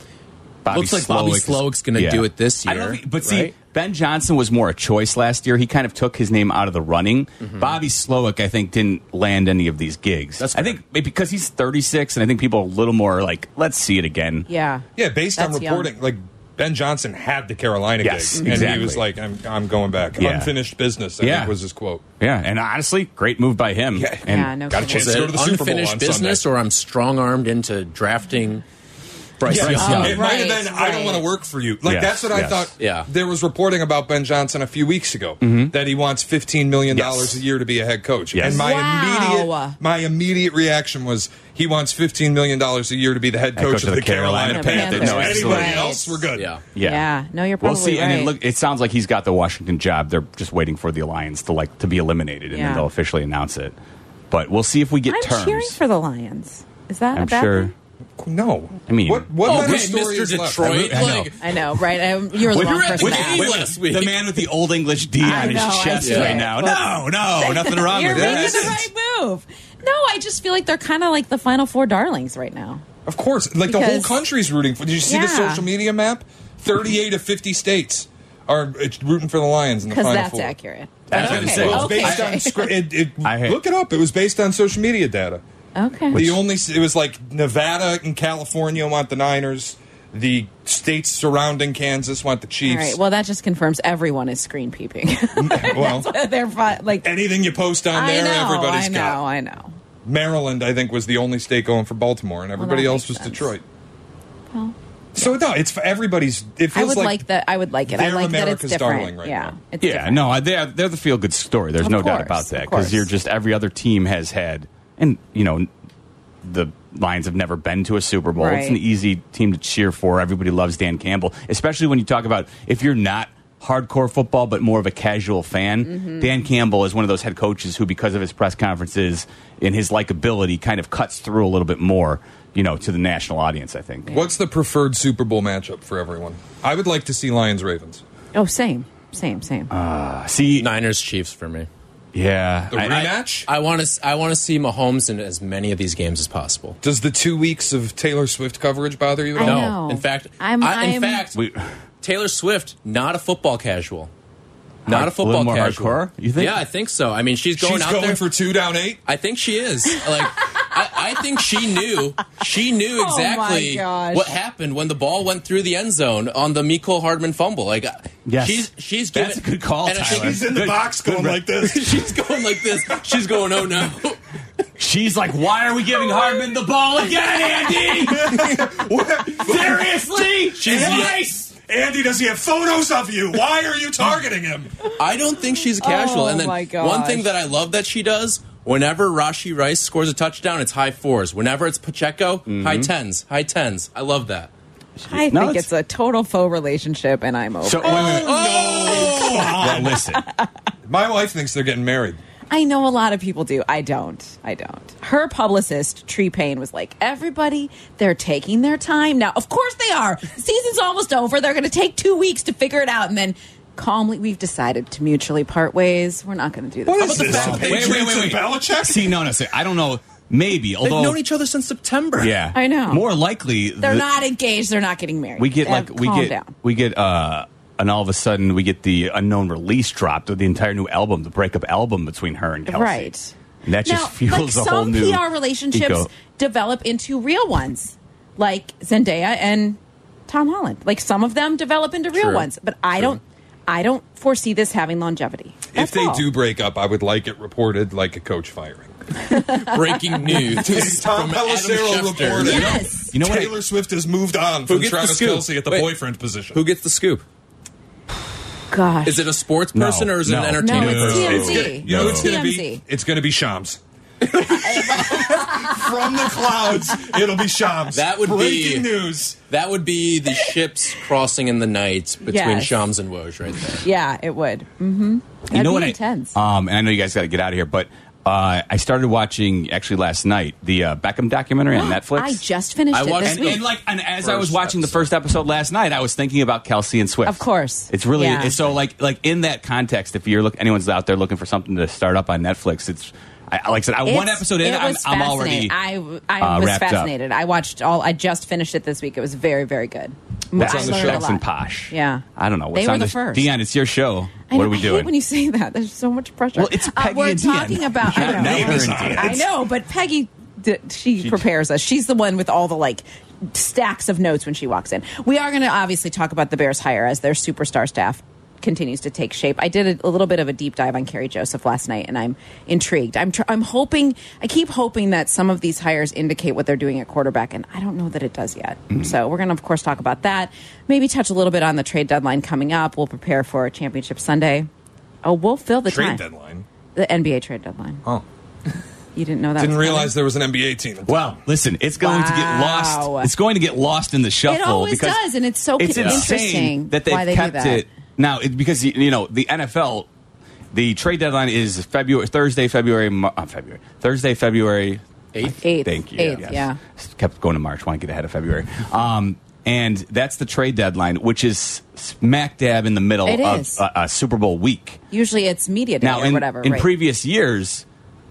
[SPEAKER 6] Looks like Bobby
[SPEAKER 4] Slowick is-
[SPEAKER 6] Slowick's gonna do it this
[SPEAKER 4] I don't
[SPEAKER 6] year,
[SPEAKER 4] think- but see,
[SPEAKER 6] right?
[SPEAKER 4] Ben Johnson was more a choice last year. He kind of took his name out of the running. Bobby Slowick, I think, didn't land any of these gigs.
[SPEAKER 6] Mm-hmm. That's
[SPEAKER 4] I
[SPEAKER 6] fair.
[SPEAKER 4] think because he's 36, and I think people are a little more like, let's see it again.
[SPEAKER 3] Yeah.
[SPEAKER 5] Yeah, based on
[SPEAKER 3] That's young.
[SPEAKER 5] reporting, like Ben Johnson had the Carolina
[SPEAKER 4] Yes,
[SPEAKER 5] gig, and he
[SPEAKER 4] exactly.
[SPEAKER 5] was like, "I'm, I'm going back.
[SPEAKER 4] Yeah.
[SPEAKER 5] Unfinished business." I
[SPEAKER 4] Yeah.
[SPEAKER 5] think was his quote.
[SPEAKER 4] Yeah, and honestly, great move by him.
[SPEAKER 5] Yeah.
[SPEAKER 4] and
[SPEAKER 3] Yeah, no
[SPEAKER 5] Got a
[SPEAKER 3] kidding.
[SPEAKER 5] chance
[SPEAKER 6] Is
[SPEAKER 5] to go
[SPEAKER 6] it
[SPEAKER 5] to the Super Bowl
[SPEAKER 6] unfinished
[SPEAKER 5] on
[SPEAKER 6] business,
[SPEAKER 5] Sunday.
[SPEAKER 6] or I'm strong armed into drafting Bryce
[SPEAKER 5] Yeah,
[SPEAKER 6] Young?
[SPEAKER 3] Young.
[SPEAKER 5] it might have
[SPEAKER 3] Right,
[SPEAKER 5] been. I don't
[SPEAKER 3] right.
[SPEAKER 5] want to work for you. Like
[SPEAKER 4] Yes,
[SPEAKER 5] that's what I
[SPEAKER 4] yes.
[SPEAKER 5] thought.
[SPEAKER 6] Yeah.
[SPEAKER 5] there was reporting about Ben Johnson a few weeks ago that he wants fifteen million dollars
[SPEAKER 4] Mm-hmm. Yes.
[SPEAKER 5] a year to be a head coach.
[SPEAKER 4] Yes.
[SPEAKER 5] And my
[SPEAKER 3] Wow.
[SPEAKER 5] immediate my immediate reaction was he wants fifteen million dollars a year to be the head coach, of, the Carolina, Panthers.
[SPEAKER 3] Panthers. No,
[SPEAKER 5] Anybody
[SPEAKER 3] absolutely.
[SPEAKER 5] else, we're good.
[SPEAKER 6] Yeah.
[SPEAKER 4] Yeah.
[SPEAKER 3] No, you're
[SPEAKER 4] Well,
[SPEAKER 3] probably
[SPEAKER 4] see,
[SPEAKER 3] right.
[SPEAKER 4] and it, look, it sounds like he's got the Washington job. They're just waiting for the alliance to like to be eliminated, and
[SPEAKER 3] Yeah.
[SPEAKER 4] then they'll officially announce it. But we'll see if we get
[SPEAKER 3] I'm
[SPEAKER 4] terms.
[SPEAKER 3] cheering for the Lions. Is that a
[SPEAKER 4] I'm
[SPEAKER 3] bad
[SPEAKER 4] sure.
[SPEAKER 3] thing?
[SPEAKER 5] No,
[SPEAKER 4] I mean-
[SPEAKER 5] what? What
[SPEAKER 6] Okay,
[SPEAKER 5] better story
[SPEAKER 6] Mr.
[SPEAKER 5] is left?
[SPEAKER 6] Oh, Detroit.
[SPEAKER 4] I know.
[SPEAKER 6] Like,
[SPEAKER 3] I know, right? I, you were the
[SPEAKER 4] Well,
[SPEAKER 3] wrong
[SPEAKER 4] you're at
[SPEAKER 3] person
[SPEAKER 4] the
[SPEAKER 3] to
[SPEAKER 4] game
[SPEAKER 3] ask.
[SPEAKER 6] last week.
[SPEAKER 4] The man with the old English D
[SPEAKER 3] I
[SPEAKER 4] on his
[SPEAKER 3] know, I
[SPEAKER 4] chest
[SPEAKER 3] see
[SPEAKER 4] right
[SPEAKER 3] it.
[SPEAKER 4] now. No,
[SPEAKER 3] Well-
[SPEAKER 4] no, nothing wrong
[SPEAKER 3] You're
[SPEAKER 4] with
[SPEAKER 3] making
[SPEAKER 4] it.
[SPEAKER 3] the right move. No, I just feel like they're kind of like the Final Four darlings right now.
[SPEAKER 5] Of course, like the whole
[SPEAKER 3] Because-
[SPEAKER 5] country's rooting for. Did you see the
[SPEAKER 3] Yeah.
[SPEAKER 5] social media map? Thirty-eight of fifty states are uh, rooting for the Lions in the
[SPEAKER 3] Because
[SPEAKER 5] final
[SPEAKER 3] that's
[SPEAKER 5] four.
[SPEAKER 3] accurate.
[SPEAKER 4] I was gonna
[SPEAKER 3] okay.
[SPEAKER 4] say,
[SPEAKER 5] It was
[SPEAKER 3] okay.
[SPEAKER 5] based on scr- it, it-
[SPEAKER 4] I hate-
[SPEAKER 5] look it up. It was based on social media data.
[SPEAKER 3] okay.
[SPEAKER 5] The only it was like Nevada and California want the Niners. The states surrounding Kansas want the
[SPEAKER 3] All
[SPEAKER 5] Chiefs.
[SPEAKER 3] right. Well, that just confirms everyone is screen peeping.
[SPEAKER 5] Well,
[SPEAKER 3] they're fi- like.
[SPEAKER 5] anything you post on
[SPEAKER 3] I
[SPEAKER 5] there,
[SPEAKER 3] know.
[SPEAKER 5] everybody's
[SPEAKER 3] I know.
[SPEAKER 5] got.
[SPEAKER 3] I know.
[SPEAKER 5] Maryland, I think, was the only state going for Baltimore, and everybody
[SPEAKER 3] that
[SPEAKER 5] else
[SPEAKER 3] makes
[SPEAKER 5] was
[SPEAKER 3] sense.
[SPEAKER 5] Detroit.
[SPEAKER 3] Well,
[SPEAKER 5] So no, it's for everybody's. It feels
[SPEAKER 3] I would like, that. I would like it. I
[SPEAKER 5] they're
[SPEAKER 3] like that
[SPEAKER 5] America's
[SPEAKER 3] it's different.
[SPEAKER 5] darling right
[SPEAKER 3] yeah.
[SPEAKER 5] now.
[SPEAKER 3] It's
[SPEAKER 4] Yeah,
[SPEAKER 3] different.
[SPEAKER 4] no, they're they're the feel good story. There's
[SPEAKER 3] Of
[SPEAKER 4] no doubt
[SPEAKER 3] course,
[SPEAKER 4] about that
[SPEAKER 3] of
[SPEAKER 4] because you're
[SPEAKER 3] course.
[SPEAKER 4] just every other team has had, and you know, the Lions have never been to a Super Bowl. It's an
[SPEAKER 3] Right.
[SPEAKER 4] easy team to cheer for. Everybody loves Dan Campbell, especially when you talk about if you're not hardcore football but more of a casual fan.
[SPEAKER 3] Mm-hmm.
[SPEAKER 4] Dan Campbell is one of those head coaches who, because of his press conferences and his likability, kind of cuts through a little bit more, you know, to the national audience. I think.
[SPEAKER 5] What's the preferred Super Bowl matchup for everyone? I would like to see Lions Ravens.
[SPEAKER 3] Oh, same. Same, same.
[SPEAKER 4] Uh, See,
[SPEAKER 6] Niners Chiefs for me.
[SPEAKER 4] yeah,
[SPEAKER 5] The
[SPEAKER 4] I- I-
[SPEAKER 5] rematch?
[SPEAKER 6] I want to. I want to see Mahomes in as many of these games as possible.
[SPEAKER 5] Does the two weeks of Taylor Swift coverage bother you at
[SPEAKER 3] I
[SPEAKER 5] all?
[SPEAKER 3] know.
[SPEAKER 6] No, in fact,
[SPEAKER 3] I'm-
[SPEAKER 6] I- in
[SPEAKER 3] I'm-
[SPEAKER 6] fact,
[SPEAKER 4] we-
[SPEAKER 6] Taylor Swift, not a football casual. Not
[SPEAKER 4] Hard-
[SPEAKER 6] a football
[SPEAKER 4] a little more
[SPEAKER 6] casual.
[SPEAKER 4] hardcore, you think?
[SPEAKER 6] Yeah, I think so. I mean, she's going
[SPEAKER 5] She's
[SPEAKER 6] out
[SPEAKER 5] going
[SPEAKER 6] there.
[SPEAKER 5] for two down eight.
[SPEAKER 6] I think she is. Like, I, I think she knew. She knew
[SPEAKER 3] Oh my
[SPEAKER 6] exactly
[SPEAKER 3] gosh.
[SPEAKER 6] what happened when the ball went through the end zone on the Miko Hardman fumble. Like,
[SPEAKER 4] Yes.
[SPEAKER 6] she's she's given,
[SPEAKER 4] That's a good call,
[SPEAKER 6] and I think
[SPEAKER 4] Tyler.
[SPEAKER 5] She's in the
[SPEAKER 4] Good-
[SPEAKER 5] box
[SPEAKER 4] good
[SPEAKER 5] going
[SPEAKER 4] re-
[SPEAKER 5] like this.
[SPEAKER 6] She's going like this. She's going, oh no.
[SPEAKER 4] She's like, why are we giving Hardman the ball again, Andy? Seriously?
[SPEAKER 6] She's-
[SPEAKER 4] nice.
[SPEAKER 5] Andy, does he have photos of you? Why are you targeting him?
[SPEAKER 6] I don't think she's casual.
[SPEAKER 3] Oh,
[SPEAKER 6] and then
[SPEAKER 3] my
[SPEAKER 6] one thing
[SPEAKER 3] gosh.
[SPEAKER 6] that I love that she does. Whenever Rashi Rice scores a touchdown, it's high fours. Whenever it's Pacheco, high tens, high tens. I love that.
[SPEAKER 3] I
[SPEAKER 4] No,
[SPEAKER 3] think
[SPEAKER 4] it's-
[SPEAKER 3] it's a total faux relationship, and I'm over.
[SPEAKER 4] So, wait, wait, wait. Well, listen.
[SPEAKER 5] My wife thinks they're getting married.
[SPEAKER 3] I know a lot of people do. I don't. I don't. Her publicist, Tree Payne, was like, everybody, they're taking their time now. Of course they are. The season's almost over. They're going to take two weeks to figure it out. And then calmly, we've decided to mutually part ways. We're not going to do this.
[SPEAKER 5] What is this?
[SPEAKER 4] Wait, wait, wait, wait.
[SPEAKER 5] Patriots and Belichick?
[SPEAKER 4] See, no, no. See, I don't know. Maybe,
[SPEAKER 6] They've
[SPEAKER 4] although
[SPEAKER 6] known each other since September.
[SPEAKER 4] yeah,
[SPEAKER 3] I know.
[SPEAKER 4] More likely,
[SPEAKER 3] They're
[SPEAKER 4] the-
[SPEAKER 3] not engaged. They're not getting married.
[SPEAKER 4] We get
[SPEAKER 3] Uh,
[SPEAKER 4] like we
[SPEAKER 3] calm
[SPEAKER 4] get
[SPEAKER 3] down.
[SPEAKER 4] we get uh, and all of a sudden we get the unknown release dropped of the entire new album, the breakup album between her and Kelsey.
[SPEAKER 3] right.
[SPEAKER 4] And that just
[SPEAKER 3] now,
[SPEAKER 4] fuels
[SPEAKER 3] like
[SPEAKER 4] a whole
[SPEAKER 3] some
[SPEAKER 4] new
[SPEAKER 3] PR relationships
[SPEAKER 4] eco.
[SPEAKER 3] develop into real ones, like Zendaya and Tom Holland. Like some of them develop into real
[SPEAKER 6] True.
[SPEAKER 3] ones, but I don't. I don't foresee this having longevity.
[SPEAKER 5] if
[SPEAKER 3] That's
[SPEAKER 5] they
[SPEAKER 3] all.
[SPEAKER 5] do break up, I would like it reported like a coach firing.
[SPEAKER 6] Breaking news. Adam
[SPEAKER 5] Tom Pelissero
[SPEAKER 6] Schefter.
[SPEAKER 5] reported.
[SPEAKER 3] Yes.
[SPEAKER 4] You know what?
[SPEAKER 5] Taylor Swift has moved on from
[SPEAKER 6] gets the
[SPEAKER 5] Travis
[SPEAKER 6] scoop?
[SPEAKER 5] Kelsey at the
[SPEAKER 6] Wait.
[SPEAKER 5] boyfriend position.
[SPEAKER 6] Who gets the scoop?
[SPEAKER 3] Gosh.
[SPEAKER 6] Is it a sports
[SPEAKER 4] No,
[SPEAKER 6] person or is it
[SPEAKER 4] no,
[SPEAKER 6] an
[SPEAKER 3] no,
[SPEAKER 6] entertainment
[SPEAKER 3] it's
[SPEAKER 6] person?
[SPEAKER 5] It's
[SPEAKER 3] TMZ.
[SPEAKER 5] gonna, you know,
[SPEAKER 4] No.
[SPEAKER 5] it's gonna be
[SPEAKER 3] TMZ.
[SPEAKER 5] it's gonna be Shams. From the clouds, it'll be Shams.
[SPEAKER 6] That would be-
[SPEAKER 5] breaking news.
[SPEAKER 6] That would be the ships crossing in the night between
[SPEAKER 3] Yes.
[SPEAKER 6] Shams and Woj right there.
[SPEAKER 3] yeah, it would. Mm-hmm. That'd
[SPEAKER 4] you know
[SPEAKER 3] be
[SPEAKER 4] what
[SPEAKER 3] intense.
[SPEAKER 4] I, um, and I know you guys got to get out of here, but uh, I started watching actually last night the uh, Beckham documentary on Netflix.
[SPEAKER 3] I just finished
[SPEAKER 6] I
[SPEAKER 3] it
[SPEAKER 6] watched
[SPEAKER 3] this
[SPEAKER 4] and,
[SPEAKER 3] week.
[SPEAKER 4] and like and as I was
[SPEAKER 6] First
[SPEAKER 4] watching the
[SPEAKER 6] episode.
[SPEAKER 4] first episode last night, I was thinking about Kelsey and Swift.
[SPEAKER 3] Of course.
[SPEAKER 4] it's really
[SPEAKER 3] Yeah.
[SPEAKER 4] it's so like like in that context. If you're look, anyone's out there looking for something to start up on Netflix, it's I, I- like I said, I, one
[SPEAKER 3] It's-
[SPEAKER 4] episode in,
[SPEAKER 3] it
[SPEAKER 4] I'm,
[SPEAKER 3] was
[SPEAKER 4] I'm already
[SPEAKER 3] fascinating. I, I
[SPEAKER 4] uh,
[SPEAKER 3] was
[SPEAKER 4] wrapped up.
[SPEAKER 3] fascinated. I watched all. I just finished it this week. It was very, very good.
[SPEAKER 4] What's
[SPEAKER 3] I
[SPEAKER 4] on the
[SPEAKER 3] learned
[SPEAKER 4] show?
[SPEAKER 3] a
[SPEAKER 4] Jackson
[SPEAKER 3] lot.
[SPEAKER 4] Posh.
[SPEAKER 3] Yeah.
[SPEAKER 4] I don't know. What's
[SPEAKER 3] They were
[SPEAKER 4] on
[SPEAKER 3] the
[SPEAKER 4] this-
[SPEAKER 3] first.
[SPEAKER 4] Dion, it's your show.
[SPEAKER 3] I
[SPEAKER 4] what
[SPEAKER 3] know,
[SPEAKER 4] are we
[SPEAKER 3] I hate
[SPEAKER 4] doing?
[SPEAKER 3] when you say that, there's so much pressure.
[SPEAKER 4] Well, it's Peggy
[SPEAKER 3] uh, we're
[SPEAKER 4] and Dion.
[SPEAKER 3] talking about. I
[SPEAKER 4] Not
[SPEAKER 3] know,
[SPEAKER 4] Neighbor and Dion.
[SPEAKER 3] I know, but Peggy, d- she, prepares us. She's the one with all the like stacks of notes when she walks in. We are going to obviously talk about the Bears hire as their superstar staff continues to take shape. I did a, a little bit of a deep dive on Carrie Joseph last night, and I'm intrigued. I'm tr- I'm hoping. I keep hoping that some of these hires indicate what they're doing at quarterback, and I don't know that it does yet.
[SPEAKER 4] Mm-hmm.
[SPEAKER 3] So we're going to, of course, talk about that. Maybe touch a little bit on the trade deadline coming up. We'll prepare for Championship Sunday. Oh, we'll fill the
[SPEAKER 5] Trade
[SPEAKER 3] time.
[SPEAKER 5] deadline.
[SPEAKER 3] The NBA trade deadline.
[SPEAKER 5] Oh.
[SPEAKER 3] You didn't know that.
[SPEAKER 5] Didn't
[SPEAKER 3] was coming?
[SPEAKER 5] realize there was an NBA team.
[SPEAKER 4] Well, listen, it's going to get
[SPEAKER 3] Wow.
[SPEAKER 4] lost. It's going to get lost in the shuffle.
[SPEAKER 3] always
[SPEAKER 4] because
[SPEAKER 3] does, and it's so
[SPEAKER 4] it's
[SPEAKER 3] ki-
[SPEAKER 4] insane
[SPEAKER 3] interesting
[SPEAKER 4] that they've
[SPEAKER 3] why they do
[SPEAKER 4] kept
[SPEAKER 3] that.
[SPEAKER 4] it now it, because you- you know the NFL. The trade deadline is February Thursday, February, Mar- uh, February Thursday, February
[SPEAKER 6] Eighth?
[SPEAKER 3] Eighth.
[SPEAKER 4] Thank you.
[SPEAKER 3] Eighth,
[SPEAKER 4] Yes.
[SPEAKER 3] yeah.
[SPEAKER 4] Just Kept going to March. Want to get ahead of February. Um, and that's the trade deadline, which is smack dab in the middle
[SPEAKER 3] It
[SPEAKER 4] of
[SPEAKER 3] is.
[SPEAKER 4] uh, uh, Super Bowl week.
[SPEAKER 3] Usually it's media day
[SPEAKER 4] Now,
[SPEAKER 3] or
[SPEAKER 4] in,
[SPEAKER 3] whatever.
[SPEAKER 4] in
[SPEAKER 3] right.
[SPEAKER 4] previous years,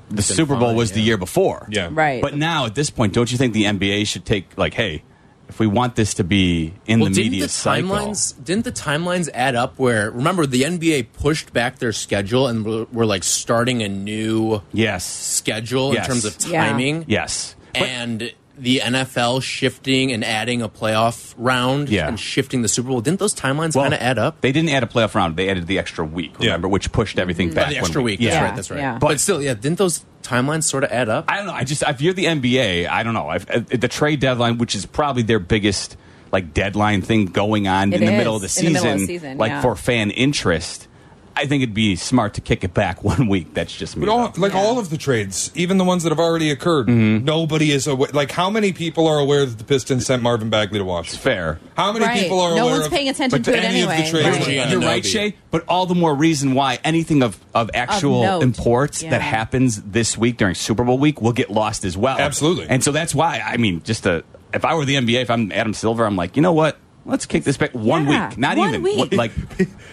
[SPEAKER 4] the
[SPEAKER 6] been
[SPEAKER 4] Super Bowl
[SPEAKER 6] fine,
[SPEAKER 4] was the
[SPEAKER 6] yeah.
[SPEAKER 4] year before.
[SPEAKER 5] Yeah.
[SPEAKER 3] Right.
[SPEAKER 4] But now, at this point, don't you think the NBA should take like, hey, if we want this to be in
[SPEAKER 6] Well,
[SPEAKER 4] the
[SPEAKER 6] didn't
[SPEAKER 4] media
[SPEAKER 6] the
[SPEAKER 4] cycle,
[SPEAKER 6] timelines didn't the timelines add up? Where remember the NBA pushed back their schedule and we're, we're like starting a new
[SPEAKER 4] yes,
[SPEAKER 6] schedule
[SPEAKER 4] Yes.
[SPEAKER 6] in terms of
[SPEAKER 3] Yeah.
[SPEAKER 6] timing.
[SPEAKER 4] yes, But-
[SPEAKER 6] and the NFL shifting and adding a playoff round
[SPEAKER 4] Yeah.
[SPEAKER 6] and shifting the Super Bowl. Didn't those timelines
[SPEAKER 4] well,
[SPEAKER 6] kind of add up?
[SPEAKER 4] They didn't add a playoff round; they added the extra week,
[SPEAKER 5] Yeah.
[SPEAKER 4] remember, which
[SPEAKER 3] Mm-hmm.
[SPEAKER 4] pushed everything back.
[SPEAKER 6] Oh, the
[SPEAKER 4] one
[SPEAKER 6] extra week. That's
[SPEAKER 3] Yeah.
[SPEAKER 6] right. That's right.
[SPEAKER 3] Yeah.
[SPEAKER 6] But, still, yeah. Didn't those timelines sort of add up?
[SPEAKER 4] I don't know. I just if you're the NBA, I don't know. If, uh the trade deadline, which is probably their biggest like deadline thing going on
[SPEAKER 3] It
[SPEAKER 4] in the
[SPEAKER 3] is,
[SPEAKER 4] middle of the
[SPEAKER 3] in
[SPEAKER 4] season,
[SPEAKER 3] the middle of the season,
[SPEAKER 4] like
[SPEAKER 3] yeah.
[SPEAKER 4] for fan interest, I think it'd be smart to kick it back one week. That's just me.
[SPEAKER 5] But all,
[SPEAKER 4] though.
[SPEAKER 5] like
[SPEAKER 3] Yeah.
[SPEAKER 5] all of the trades, even the ones that have already occurred,
[SPEAKER 6] Mm-hmm.
[SPEAKER 5] nobody is aware. Like, how many people are aware that the Pistons sent Marvin Bagley to Washington?
[SPEAKER 4] fair.
[SPEAKER 5] How many
[SPEAKER 3] Right.
[SPEAKER 5] people are
[SPEAKER 3] No
[SPEAKER 5] aware
[SPEAKER 3] one's
[SPEAKER 5] of
[SPEAKER 3] paying attention
[SPEAKER 5] but
[SPEAKER 3] to it
[SPEAKER 5] any
[SPEAKER 3] anyway.
[SPEAKER 5] Of the trades
[SPEAKER 6] Right.
[SPEAKER 5] were-
[SPEAKER 6] Yeah.
[SPEAKER 4] You're
[SPEAKER 6] Ananobi.
[SPEAKER 4] right, Shay. But all the more reason why anything of, of actual
[SPEAKER 3] note.
[SPEAKER 4] import
[SPEAKER 3] Yeah.
[SPEAKER 4] that happens this week during Super Bowl week will get lost as well.
[SPEAKER 5] Absolutely.
[SPEAKER 4] And so that's why I mean, just a, if I were the NBA, if I'm Adam Silver, I'm like, you know what? Let's kick this back one
[SPEAKER 3] Yeah,
[SPEAKER 4] week, not
[SPEAKER 3] one
[SPEAKER 4] even
[SPEAKER 3] week.
[SPEAKER 4] like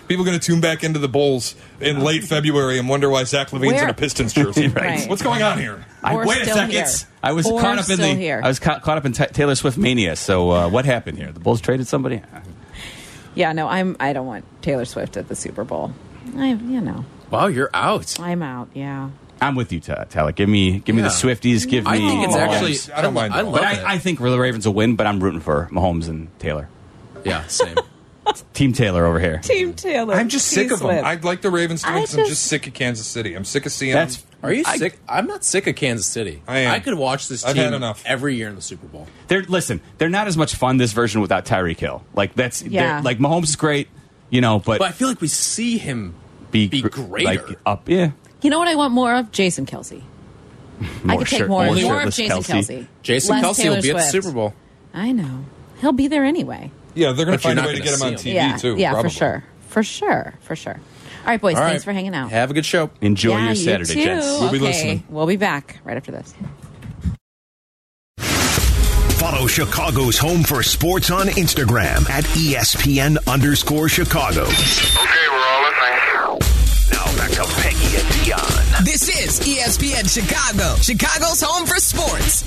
[SPEAKER 5] People going to tune back into the Bulls in late February and wonder why Zach Levine's
[SPEAKER 3] Where-
[SPEAKER 5] in a Pistons jersey.
[SPEAKER 3] Right.
[SPEAKER 5] What's going on here?
[SPEAKER 3] Or
[SPEAKER 4] wait
[SPEAKER 3] still
[SPEAKER 4] a second.
[SPEAKER 3] here.
[SPEAKER 4] I was
[SPEAKER 3] Or
[SPEAKER 4] caught up in
[SPEAKER 3] still
[SPEAKER 4] the.
[SPEAKER 3] here.
[SPEAKER 4] I was ca- caught up in Ta Taylor Swift mania. So uh, what happened here? The Bulls traded somebody.
[SPEAKER 3] yeah, no, I'm. I don't want Taylor Swift at the Super Bowl. I, you know,
[SPEAKER 6] Wow, you're out.
[SPEAKER 3] I'm out. Yeah,
[SPEAKER 4] I'm with you, Ta- Taylor. Give me, give me
[SPEAKER 6] Yeah.
[SPEAKER 4] the Swifties. Give
[SPEAKER 6] I
[SPEAKER 4] me.
[SPEAKER 6] think it's
[SPEAKER 4] Mahomes.
[SPEAKER 6] actually.
[SPEAKER 5] I don't mind
[SPEAKER 6] I
[SPEAKER 5] that.
[SPEAKER 6] love
[SPEAKER 4] But
[SPEAKER 6] it.
[SPEAKER 4] I, I think the Ravens will win. But I'm rooting for Mahomes and Taylor.
[SPEAKER 6] yeah, same.
[SPEAKER 4] Team Taylor over here.
[SPEAKER 3] Team Taylor.
[SPEAKER 5] I'm just sick of them. I like the Ravens too
[SPEAKER 3] I
[SPEAKER 5] because I'm just
[SPEAKER 3] just-
[SPEAKER 5] sick of Kansas City. I'm sick of seeing
[SPEAKER 4] That's
[SPEAKER 5] them.
[SPEAKER 6] Are you
[SPEAKER 4] I-
[SPEAKER 6] sick? I'm not sick of Kansas City.
[SPEAKER 5] I am.
[SPEAKER 6] could watch this team
[SPEAKER 5] I've had enough.
[SPEAKER 6] every year in the Super Bowl.
[SPEAKER 4] They're listen. They're not as much fun this version without Tyreek Hill. Like that's they're-
[SPEAKER 3] Yeah.
[SPEAKER 4] like Mahomes is great, you know, but,
[SPEAKER 6] But I feel like we see him
[SPEAKER 4] be,
[SPEAKER 6] be
[SPEAKER 4] gr-
[SPEAKER 6] greater.
[SPEAKER 4] Like up, yeah.
[SPEAKER 3] You know what I want more of? Jason Kelsey. I could take
[SPEAKER 4] shirt-
[SPEAKER 3] more,
[SPEAKER 4] more
[SPEAKER 3] more, of
[SPEAKER 4] shirtless
[SPEAKER 3] Jason
[SPEAKER 4] Kelsey.
[SPEAKER 3] Kelsey.
[SPEAKER 6] Jason
[SPEAKER 3] Less
[SPEAKER 6] Kelsey will
[SPEAKER 3] Taylor
[SPEAKER 6] be at the
[SPEAKER 3] Swift.
[SPEAKER 6] Super Bowl.
[SPEAKER 3] I know. He'll be there anyway.
[SPEAKER 5] Yeah, they're going to
[SPEAKER 6] But you're
[SPEAKER 5] find a
[SPEAKER 6] not
[SPEAKER 5] way to
[SPEAKER 6] gonna
[SPEAKER 5] get them on
[SPEAKER 6] see
[SPEAKER 5] TV
[SPEAKER 6] 'em.
[SPEAKER 3] yeah,
[SPEAKER 5] too.
[SPEAKER 3] yeah,
[SPEAKER 5] probably.
[SPEAKER 3] for sure, for sure, for sure. All right, boys.
[SPEAKER 6] All
[SPEAKER 3] thanks
[SPEAKER 6] right.
[SPEAKER 3] for hanging out.
[SPEAKER 6] Have a good show.
[SPEAKER 4] Enjoy
[SPEAKER 3] yeah,
[SPEAKER 4] your
[SPEAKER 3] you
[SPEAKER 4] Saturday,
[SPEAKER 3] too.
[SPEAKER 4] gents.
[SPEAKER 5] be
[SPEAKER 3] okay.
[SPEAKER 5] listening.
[SPEAKER 3] We'll be back right after this.
[SPEAKER 7] Follow Chicago's Home for Sports on E Instagram at ESPN underscore Chicago.
[SPEAKER 8] Okay, we're all listening.
[SPEAKER 7] Now back to Peggy and Dion.
[SPEAKER 8] This is E ESPN Chicago, Chicago's home for sports.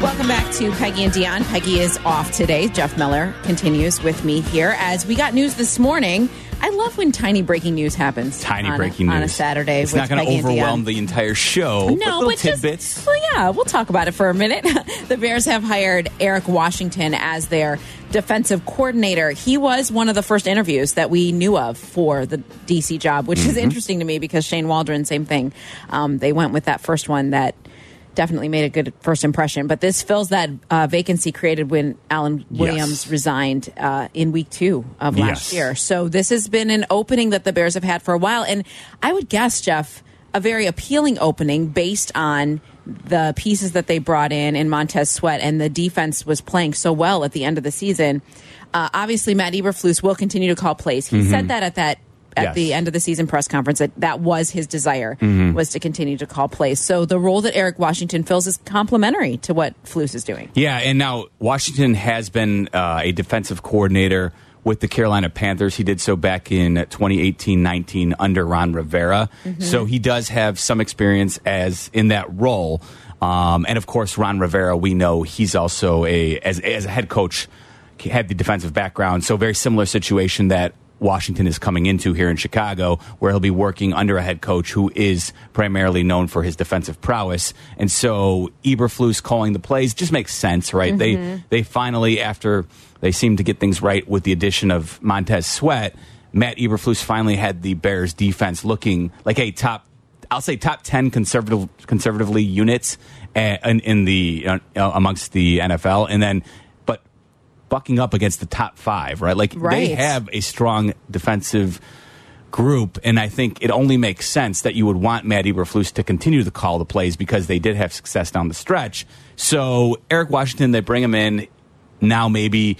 [SPEAKER 3] Welcome back to Peggy and Dion. Peggy is off today. Jeff Miller continues with me here as we got news this morning. I love when tiny breaking news happens.
[SPEAKER 4] Tiny
[SPEAKER 3] on a-
[SPEAKER 4] breaking news
[SPEAKER 3] on a Saturday.
[SPEAKER 4] It's
[SPEAKER 3] with
[SPEAKER 4] not going
[SPEAKER 3] Peggy
[SPEAKER 4] to
[SPEAKER 3] and Dion.
[SPEAKER 4] overwhelm the entire show.
[SPEAKER 3] No,
[SPEAKER 4] little
[SPEAKER 3] but just-
[SPEAKER 4] tidbits.
[SPEAKER 3] well, yeah, we'll talk about it for a minute. the Bears have hired Eric Washington as their defensive coordinator. He was one of the first interviews that we knew of for the DC job, which is interesting to me because Shane Waldron, same thing. Um, they went with that first one that definitely made a good first impression. But this fills that uh, vacancy created when Alan Williams resigned uh, in week two of
[SPEAKER 4] Yes.
[SPEAKER 3] last year. So this has been an opening that the Bears have had for a while, and I would guess, Jeff, a very appealing opening based on the pieces that they brought in in Montez Sweat, and the defense was playing so well at the end of the season. Uh, obviously, Matt Eberflus will continue to call plays. He said that at that at
[SPEAKER 4] Mm-hmm. Yes. Mm-hmm.
[SPEAKER 3] the end of the season press conference that that was his desire was to continue to call plays. So the role that Eric Washington fills is complementary to what Flus is doing.
[SPEAKER 4] Yeah, and now Washington has been uh, a defensive coordinator with the Carolina Panthers. He did so back in 2018-19 under Ron Rivera. So he does have some experience as in that role. Um, and of course, Ron Rivera, we know he's also a as as a head coach had the defensive background. So very similar situation that Washington is coming into here in Chicago, where he'll be working under a head coach who is primarily known for his defensive prowess. And so Eberflus calling the plays just makes sense, right? They they finally, after they seem to get things right with the addition of Montez Sweat, Matt Eberflus finally had the Bears defense looking like a top I'll say top ten conservative conservatively units uh, in, in the uh, amongst the NFL, and then but bucking up against the top five, right? Like
[SPEAKER 3] Right.
[SPEAKER 4] they have a strong defensive group, and I think it only makes sense that you would want Matt Eberflus to continue to call the plays because they did have success down the stretch. So Eric Washington, they bring him in now. Maybe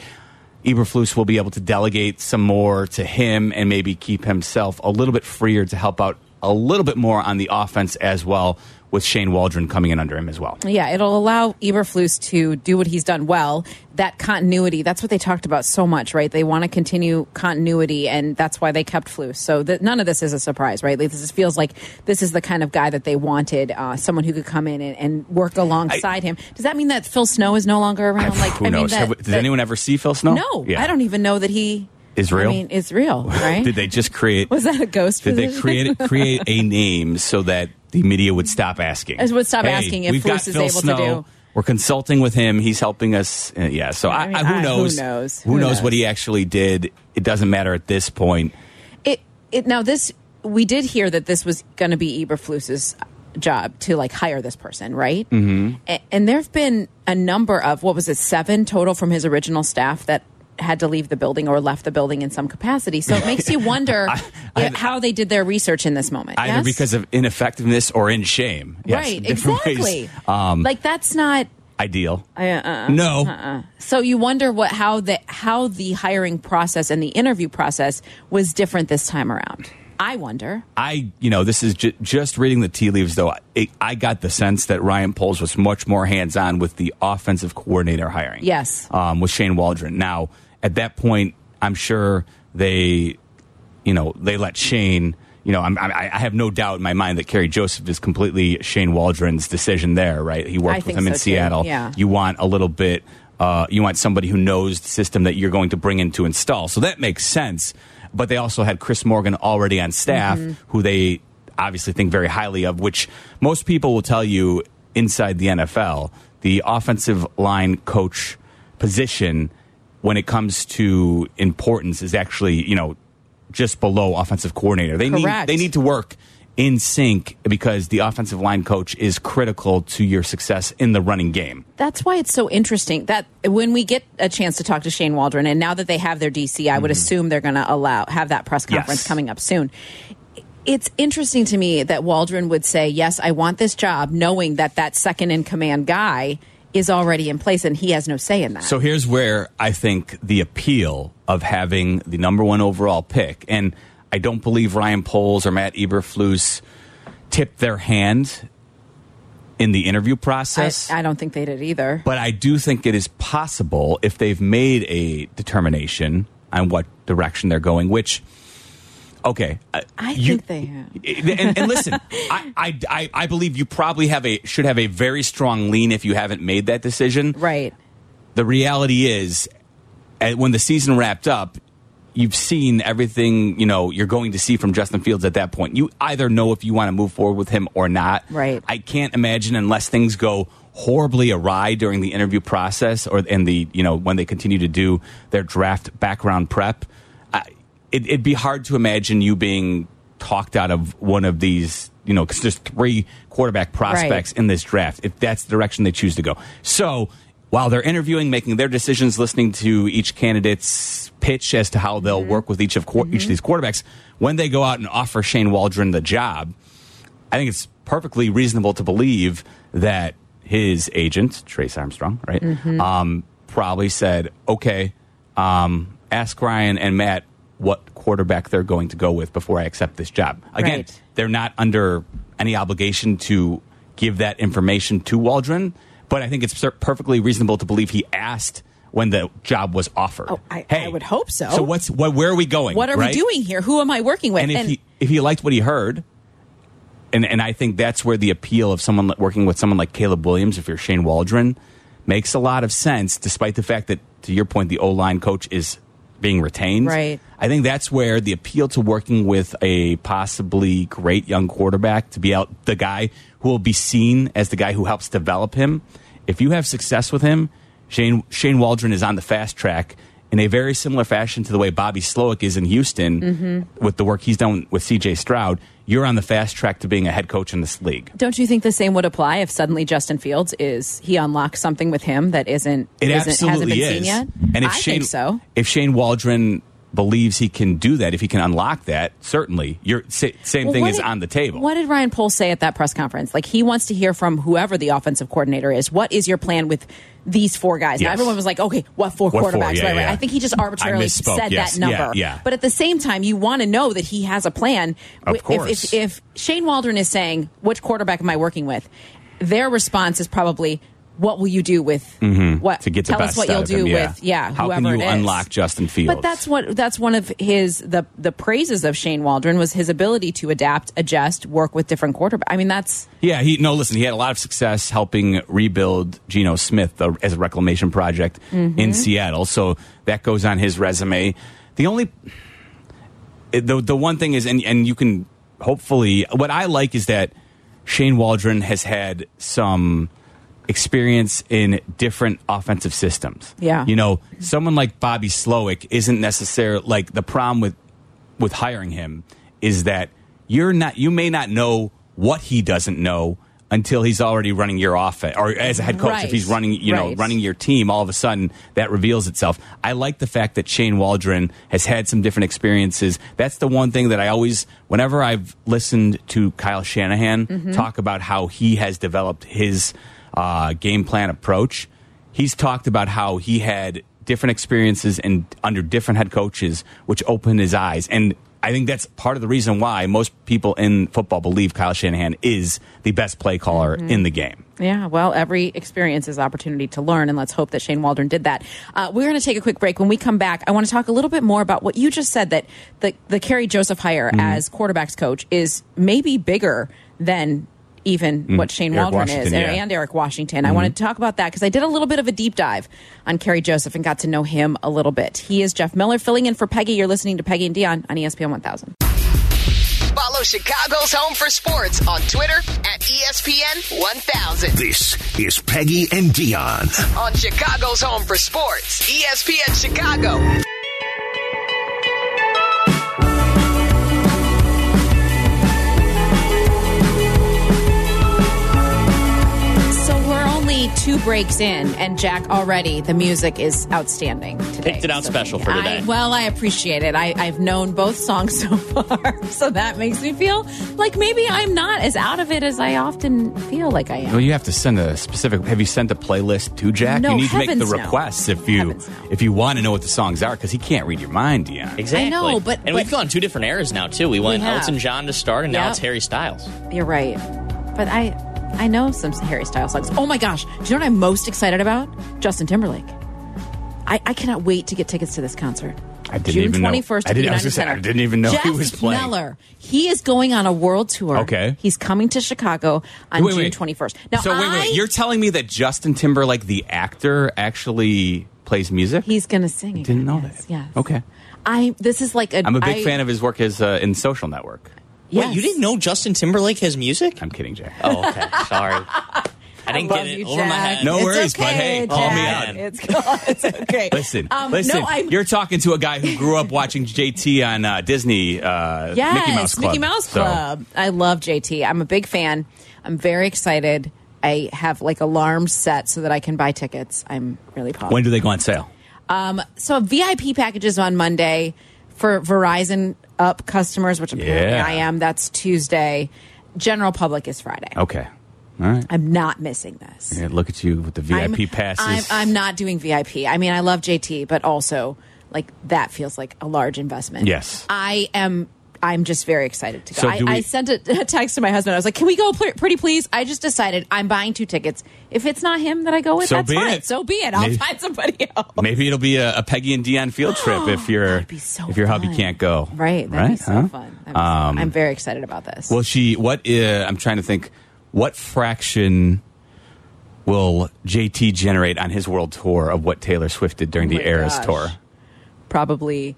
[SPEAKER 4] Eberflus will be able to delegate some more to him and maybe keep himself a little bit freer to help out a little bit more on the offense as well. With Shane Waldron coming in under him as well.
[SPEAKER 3] Yeah, it'll allow Eberflus to do what he's done well. That continuity, that's what they talked about so much, right? They want to continue continuity, and that's why they kept Flus. So that none of this is a surprise, right? Like, this is, feels like this is the kind of guy that they wanted, uh, someone who could come in and, and work alongside him. Does that mean that Phil Snow is no longer around? like,
[SPEAKER 4] Who
[SPEAKER 3] I mean,
[SPEAKER 4] knows?
[SPEAKER 3] that-
[SPEAKER 4] Have we- Did
[SPEAKER 3] that-
[SPEAKER 4] anyone ever see Phil Snow?
[SPEAKER 3] No, I don't even know that he
[SPEAKER 4] Is real?
[SPEAKER 3] I mean, is real, right?
[SPEAKER 4] Did they just create?
[SPEAKER 3] Was that a ghost
[SPEAKER 4] Did they
[SPEAKER 3] position?
[SPEAKER 4] create create a name so that the media would stop asking?
[SPEAKER 3] It would stop
[SPEAKER 4] Hey,
[SPEAKER 3] asking if
[SPEAKER 4] we've got
[SPEAKER 3] Bruce is
[SPEAKER 4] Phil
[SPEAKER 3] able to
[SPEAKER 4] Snow.
[SPEAKER 3] do-
[SPEAKER 4] We're consulting with him. He's helping us. Uh, yeah. So I,
[SPEAKER 3] I mean,
[SPEAKER 4] I- who,
[SPEAKER 3] I- who
[SPEAKER 4] knows,
[SPEAKER 3] knows?
[SPEAKER 4] Who,
[SPEAKER 3] Who
[SPEAKER 4] knows,
[SPEAKER 3] knows?
[SPEAKER 4] what he actually did? It doesn't matter at this point.
[SPEAKER 3] it, it now this we did hear that this was going to be Eberflus's job to like hire this person, right? Mm-hmm. And, there have been a number of what was it seven total from his original staff that had to leave the building or left the building in some capacity. So it makes you wonder
[SPEAKER 4] I-
[SPEAKER 3] i- how they did their research in this moment.
[SPEAKER 4] Either
[SPEAKER 3] yes?
[SPEAKER 4] because of ineffectiveness or in shame. Yes,
[SPEAKER 3] right,
[SPEAKER 4] different ways.
[SPEAKER 3] exactly. uh,
[SPEAKER 4] Um,
[SPEAKER 3] like that's not
[SPEAKER 4] ideal. no.
[SPEAKER 3] uh-uh. So you wonder what how the how the hiring process and the interview process was different this time around. I wonder.
[SPEAKER 4] I, you know, this is ju- just reading the tea leaves, though. I, I got the sense that Ryan Poles was much more hands on with the offensive coordinator hiring.
[SPEAKER 3] Yes.
[SPEAKER 4] Um, with Shane Waldron. Now, at that point, I'm sure they, you know, they let Shane, you know, I'm, I, I have no doubt in my mind that Kerry Joseph is completely Shane Waldron's decision there, right? He
[SPEAKER 3] I
[SPEAKER 4] worked with
[SPEAKER 3] think
[SPEAKER 4] him in
[SPEAKER 3] so, too.
[SPEAKER 4] Seattle.
[SPEAKER 3] Yeah.
[SPEAKER 4] You want a little bit, uh, you want somebody who knows the system that you're going to bring in to install. So that makes sense. But they also had Chris Morgan already on staff, who they obviously think very highly of, which most people will tell you inside the NFL, the offensive line coach position, when it comes to importance, is actually, you know, just below offensive coordinator. They need
[SPEAKER 3] Correct.
[SPEAKER 4] they need to work in sync because the offensive line coach is critical to your success in the running game.
[SPEAKER 3] That's why it's so interesting that when we get a chance to talk to Shane Waldron, and now that they have their DC, I would assume they're going to allow have that press conference
[SPEAKER 4] Mm-hmm. Yes.
[SPEAKER 3] coming up soon. It's interesting to me that Waldron would say, "Yes, I want this job," knowing that that second in command guy is already in place and he has no say in that.
[SPEAKER 4] So here's where I think the appeal of having the number one overall pick, and I don't believe Ryan Poles or Matt Eberflus tipped their hand in the interview
[SPEAKER 3] I,
[SPEAKER 4] process.
[SPEAKER 3] I don't think they did either.
[SPEAKER 4] But I do think it is possible if they've made a determination on what direction they're going, which, okay. uh,
[SPEAKER 3] I think they have.
[SPEAKER 4] And, and listen, I, I, I, I believe you probably have a should have a very strong lean if you haven't made that decision.
[SPEAKER 3] right.
[SPEAKER 4] The reality is, at, when the season wrapped up, you've seen everything you know you're going to see from Justin Fields at that point. You either know if you want to move forward with him or not.
[SPEAKER 3] Right.
[SPEAKER 4] I can't imagine unless things go horribly awry during the interview process or in the you know when they continue to do their draft background prep. I, it, it'd be hard to imagine you being talked out of one of these. You know, because there's three quarterback prospects in this draft. If that's the direction they choose to go, so while they're interviewing, making their decisions, listening to each candidate's pitch as to how they'll work with each of quar each of these quarterbacks, when they go out and offer Shane Waldron the job, I think it's perfectly reasonable to believe that his agent, Trace Armstrong, right,
[SPEAKER 3] Mm-hmm.
[SPEAKER 4] um, probably said, okay, um, ask Ryan and Matt what quarterback they're going to go with before I accept this job. Again,
[SPEAKER 3] Right.
[SPEAKER 4] they're not under any obligation to give that information to Waldron, but I think it's per- perfectly reasonable to believe he asked when the job was offered.
[SPEAKER 3] Oh, I- I would hope so.
[SPEAKER 4] So what's what? Where are we going?
[SPEAKER 3] What are
[SPEAKER 4] right?
[SPEAKER 3] we doing here? Who am I working with?
[SPEAKER 4] and if he if he liked what he heard, and and I think that's where the appeal of someone like- working with someone like Caleb Williams, if you're Shane Waldron, makes a lot of sense. Despite the fact that, to your point, the O line coach is being retained.
[SPEAKER 3] Right.
[SPEAKER 4] I think that's where the appeal to working with a possibly great young quarterback to be out the guy who will be seen as the guy who helps develop him. If you have success with him, Shane Shane Waldron is on the fast track in a very similar fashion to the way Bobby Slowick is in Houston
[SPEAKER 3] Mm-hmm.
[SPEAKER 4] with the work he's done with CJ Stroud. You're on the fast track to being a head coach in this league.
[SPEAKER 3] Don't you think the same would apply if suddenly Justin Fields is he unlocks something with him that isn't
[SPEAKER 4] It
[SPEAKER 3] isn't- hasn't
[SPEAKER 4] absolutely
[SPEAKER 3] been
[SPEAKER 4] is.
[SPEAKER 3] seen yet?
[SPEAKER 4] And if
[SPEAKER 3] I
[SPEAKER 4] Shane,
[SPEAKER 3] think so.
[SPEAKER 4] if Shane Waldron believes he can do that, if he can unlock that, certainly your sa- same
[SPEAKER 3] Well,
[SPEAKER 4] thing
[SPEAKER 3] what
[SPEAKER 4] is
[SPEAKER 3] did-
[SPEAKER 4] on the table.
[SPEAKER 3] What did Ryan Pohl say at that press conference? Like he wants to hear from whoever the offensive coordinator is. What is your plan with these four guys? Now
[SPEAKER 4] Yes.
[SPEAKER 3] everyone was like, okay, what four
[SPEAKER 4] What four?
[SPEAKER 3] quarterbacks? right,
[SPEAKER 4] Yeah,
[SPEAKER 3] right.
[SPEAKER 4] yeah.
[SPEAKER 3] I think he just arbitrarily
[SPEAKER 4] misspoke.
[SPEAKER 3] said
[SPEAKER 4] Yes.
[SPEAKER 3] that
[SPEAKER 4] Yeah,
[SPEAKER 3] number.
[SPEAKER 4] yeah.
[SPEAKER 3] But at the same time, you want to know that he has a plan.
[SPEAKER 4] Of
[SPEAKER 3] If-
[SPEAKER 4] course.
[SPEAKER 3] If, if, if Shane Waldron is saying, which quarterback am I working with? Their response is probably, what will you do with what?
[SPEAKER 4] Mm-hmm. to get the
[SPEAKER 3] tell
[SPEAKER 4] best
[SPEAKER 3] us what you'll
[SPEAKER 4] out of
[SPEAKER 3] do
[SPEAKER 4] him, yeah.
[SPEAKER 3] with yeah.
[SPEAKER 4] How
[SPEAKER 3] whoever
[SPEAKER 4] can you
[SPEAKER 3] it is.
[SPEAKER 4] unlock Justin Fields?
[SPEAKER 3] But that's what that's one of his the the praises of Shane Waldron was his ability to adapt, adjust, work with different quarterbacks. I mean, that's
[SPEAKER 4] Yeah, he no. Listen, he had a lot of success helping rebuild Geno Smith uh, as a reclamation project
[SPEAKER 3] Mm-hmm.
[SPEAKER 4] in Seattle. So that goes on his resume. The only the the one thing is, and and you can hopefully what I like is that Shane Waldron has had some experience in different offensive systems.
[SPEAKER 3] Yeah.
[SPEAKER 4] you know, someone like Bobby Slowick isn't necessarily like the problem with with hiring him is that you're not you may not know what he doesn't know until he's already running your offense or as a head coach
[SPEAKER 3] Right.
[SPEAKER 4] if he's running you know
[SPEAKER 3] Right.
[SPEAKER 4] running your team all of a sudden that reveals itself i like the fact that shane waldron has had some different experiences that's the one thing that i always whenever i've listened to kyle shanahan talk about how he has developed his uh, game plan approach he's talked about how he had different experiences and under different head coaches, which opened his eyes. And I think that's part of the reason why most people in football believe Kyle Shanahan is the best play caller in the game.
[SPEAKER 3] yeah. Well, every experience is opportunity to learn, and let's hope that Shane Waldron did that. Uh, we're going to take a quick break. When we come back, I want to talk a little bit more about what you just said that the the Kerry Joseph hire
[SPEAKER 4] Mm-hmm.
[SPEAKER 3] as quarterbacks coach is maybe bigger than. Even what Shane
[SPEAKER 4] Mm-hmm. Eric
[SPEAKER 3] Waldron is,
[SPEAKER 4] Washington,
[SPEAKER 3] and,
[SPEAKER 4] yeah. Mm-hmm.
[SPEAKER 3] and Eric Washington. I wanted to talk about that because I did a little bit of a deep dive on Kerry Joseph and got to know him a little bit. He is Jeff Miller filling in for Peggy. You're listening to Peggy and Dion on E ESPN 1000.
[SPEAKER 9] Follow Chicago's Home for Sports on Twitter at E ESPN 1000.
[SPEAKER 7] This is Peggy and Dion.
[SPEAKER 9] On Chicago's Home for Sports, E ESPN Chicago.
[SPEAKER 3] So we're only two breaks in, and Jack already the music is outstanding today.
[SPEAKER 1] Picked it out
[SPEAKER 3] So
[SPEAKER 1] special for today.
[SPEAKER 3] I, well, I appreciate it. I, I've known both songs so far, so that makes me feel like maybe I'm not as out of it as I often feel like I am.
[SPEAKER 4] Well, you have to send a specific. Have you sent a playlist to Jack?
[SPEAKER 3] No,
[SPEAKER 4] you need to make the
[SPEAKER 3] heavens no.
[SPEAKER 4] requests if you
[SPEAKER 3] Heavens no.
[SPEAKER 4] if you want to know what the songs are because he can't read your mind, Dion.
[SPEAKER 1] Exactly.
[SPEAKER 3] I know, but-
[SPEAKER 1] and
[SPEAKER 3] but-
[SPEAKER 1] we've gone two different eras now too. We went
[SPEAKER 3] have.
[SPEAKER 1] Elton John to start, and now
[SPEAKER 3] Yep.
[SPEAKER 1] it's Harry Styles.
[SPEAKER 3] You're right, but I I know some Harry Styles songs. Oh my gosh. Do you know what I'm most excited about? Justin Timberlake. I, I cannot wait to get tickets to this concert.
[SPEAKER 4] I didn't
[SPEAKER 3] June
[SPEAKER 4] even know-
[SPEAKER 3] 21st
[SPEAKER 4] I didn't- I was
[SPEAKER 3] United
[SPEAKER 4] gonna say, I
[SPEAKER 3] Center.
[SPEAKER 4] didn't even know he
[SPEAKER 3] Jeff
[SPEAKER 4] was playing.
[SPEAKER 3] Meller. He is going on a world tour.
[SPEAKER 4] Okay.
[SPEAKER 3] He's coming to Chicago on
[SPEAKER 4] Wait,
[SPEAKER 3] June
[SPEAKER 4] wait.
[SPEAKER 3] 21st. Now,
[SPEAKER 4] so wait,
[SPEAKER 3] I-
[SPEAKER 4] wait. You're telling me that Justin Timberlake, the actor, actually plays music?
[SPEAKER 3] He's going to sing. again,
[SPEAKER 4] Didn't know
[SPEAKER 3] yes,
[SPEAKER 4] that.
[SPEAKER 3] Yes.
[SPEAKER 4] Okay.
[SPEAKER 3] I. This is like a.
[SPEAKER 4] I'm a big
[SPEAKER 3] I-
[SPEAKER 4] fan of his work as uh, in Social Network.
[SPEAKER 3] Yes.
[SPEAKER 1] Wait, you didn't know Justin Timberlake has music?
[SPEAKER 4] I'm kidding, Jack.
[SPEAKER 1] Oh, okay. Sorry. I didn't
[SPEAKER 3] Love
[SPEAKER 1] get it
[SPEAKER 3] you,
[SPEAKER 1] over my
[SPEAKER 3] Jack.
[SPEAKER 1] head.
[SPEAKER 4] No
[SPEAKER 3] It's
[SPEAKER 4] worries, but hey, call me
[SPEAKER 3] Jack.
[SPEAKER 1] out.
[SPEAKER 3] It's, it's okay.
[SPEAKER 4] Listen,
[SPEAKER 3] Um,
[SPEAKER 4] listen.
[SPEAKER 3] No, I'm,
[SPEAKER 4] you're talking to a guy who grew up watching JT on uh, Disney. Uh,
[SPEAKER 3] yes,
[SPEAKER 4] Mickey Mouse Club.
[SPEAKER 3] Mickey Mouse
[SPEAKER 4] So-
[SPEAKER 3] Club. I love JT. I'm a big fan. I'm very excited. I have like alarms set so that I can buy tickets. I'm really pumped.
[SPEAKER 4] when do they go on sale?
[SPEAKER 3] so VIP packages on Monday for Verizon Up customers, which apparently
[SPEAKER 4] Yeah.
[SPEAKER 3] I am. That's Tuesday. General public is Friday.
[SPEAKER 4] Okay. All right.
[SPEAKER 3] I'm not missing this.
[SPEAKER 4] Yeah, look at you with the VIP passes.
[SPEAKER 3] I'm, I'm not doing VIP. I mean, I love JT, but also like that feels like a large investment.
[SPEAKER 4] Yes.
[SPEAKER 3] I am. I'm just very excited to go.
[SPEAKER 4] So
[SPEAKER 3] I,
[SPEAKER 4] do we-
[SPEAKER 3] I sent a, a text to my husband. I was like, "Can we go, pl- pretty please?" I just decided I'm buying two tickets. If it's not him that I go with,
[SPEAKER 4] So
[SPEAKER 3] that's
[SPEAKER 4] be
[SPEAKER 3] fine.
[SPEAKER 4] it.
[SPEAKER 3] So be it. I'll
[SPEAKER 4] Maybe-
[SPEAKER 3] find somebody else.
[SPEAKER 4] Maybe it'll be a, a Peggy and Dion field trip if your
[SPEAKER 3] That'd be so
[SPEAKER 4] if your hubby
[SPEAKER 3] fun.
[SPEAKER 4] can't go.
[SPEAKER 3] Right. That'd be so
[SPEAKER 4] Huh? Um,
[SPEAKER 3] fun. That'd be so fun. I'm very excited about this.
[SPEAKER 4] Will she? What? Uh, I'm trying to think. What fraction will JT generate on his world tour of what Taylor Swift did during
[SPEAKER 3] Oh
[SPEAKER 4] the
[SPEAKER 3] my
[SPEAKER 4] Eras
[SPEAKER 3] gosh.
[SPEAKER 4] tour?
[SPEAKER 3] Probably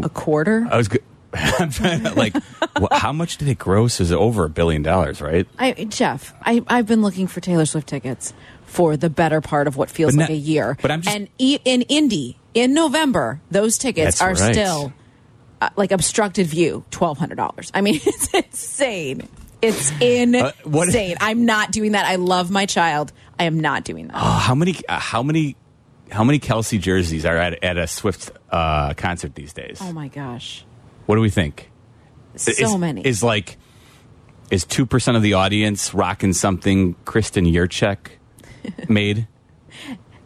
[SPEAKER 3] a quarter.
[SPEAKER 4] I was go- I'm trying to like, wha- how much did it gross? Is it over a billion dollars? Right?
[SPEAKER 3] I, Jeff, I, I've been looking for Taylor Swift tickets for the better part of what feels
[SPEAKER 4] But
[SPEAKER 3] like
[SPEAKER 4] not-
[SPEAKER 3] a year.
[SPEAKER 4] but I'm just-
[SPEAKER 3] and e- in Indy in November, those tickets
[SPEAKER 4] That's
[SPEAKER 3] are
[SPEAKER 4] right.
[SPEAKER 3] still uh, like obstructed view twelve hundred dollars. I mean, it's insane. It's insane.
[SPEAKER 4] Uh, what-
[SPEAKER 3] I'm not doing that. I love my child. I am not doing that.
[SPEAKER 4] Oh, how many? Uh, how many? How many Kelsey jerseys are at, at a Swift uh, concert these days?
[SPEAKER 3] Oh my gosh,
[SPEAKER 4] What do we think?
[SPEAKER 3] so
[SPEAKER 4] is,
[SPEAKER 3] many.
[SPEAKER 4] is like is two percent of the audience rocking something Kristen Yerchek made.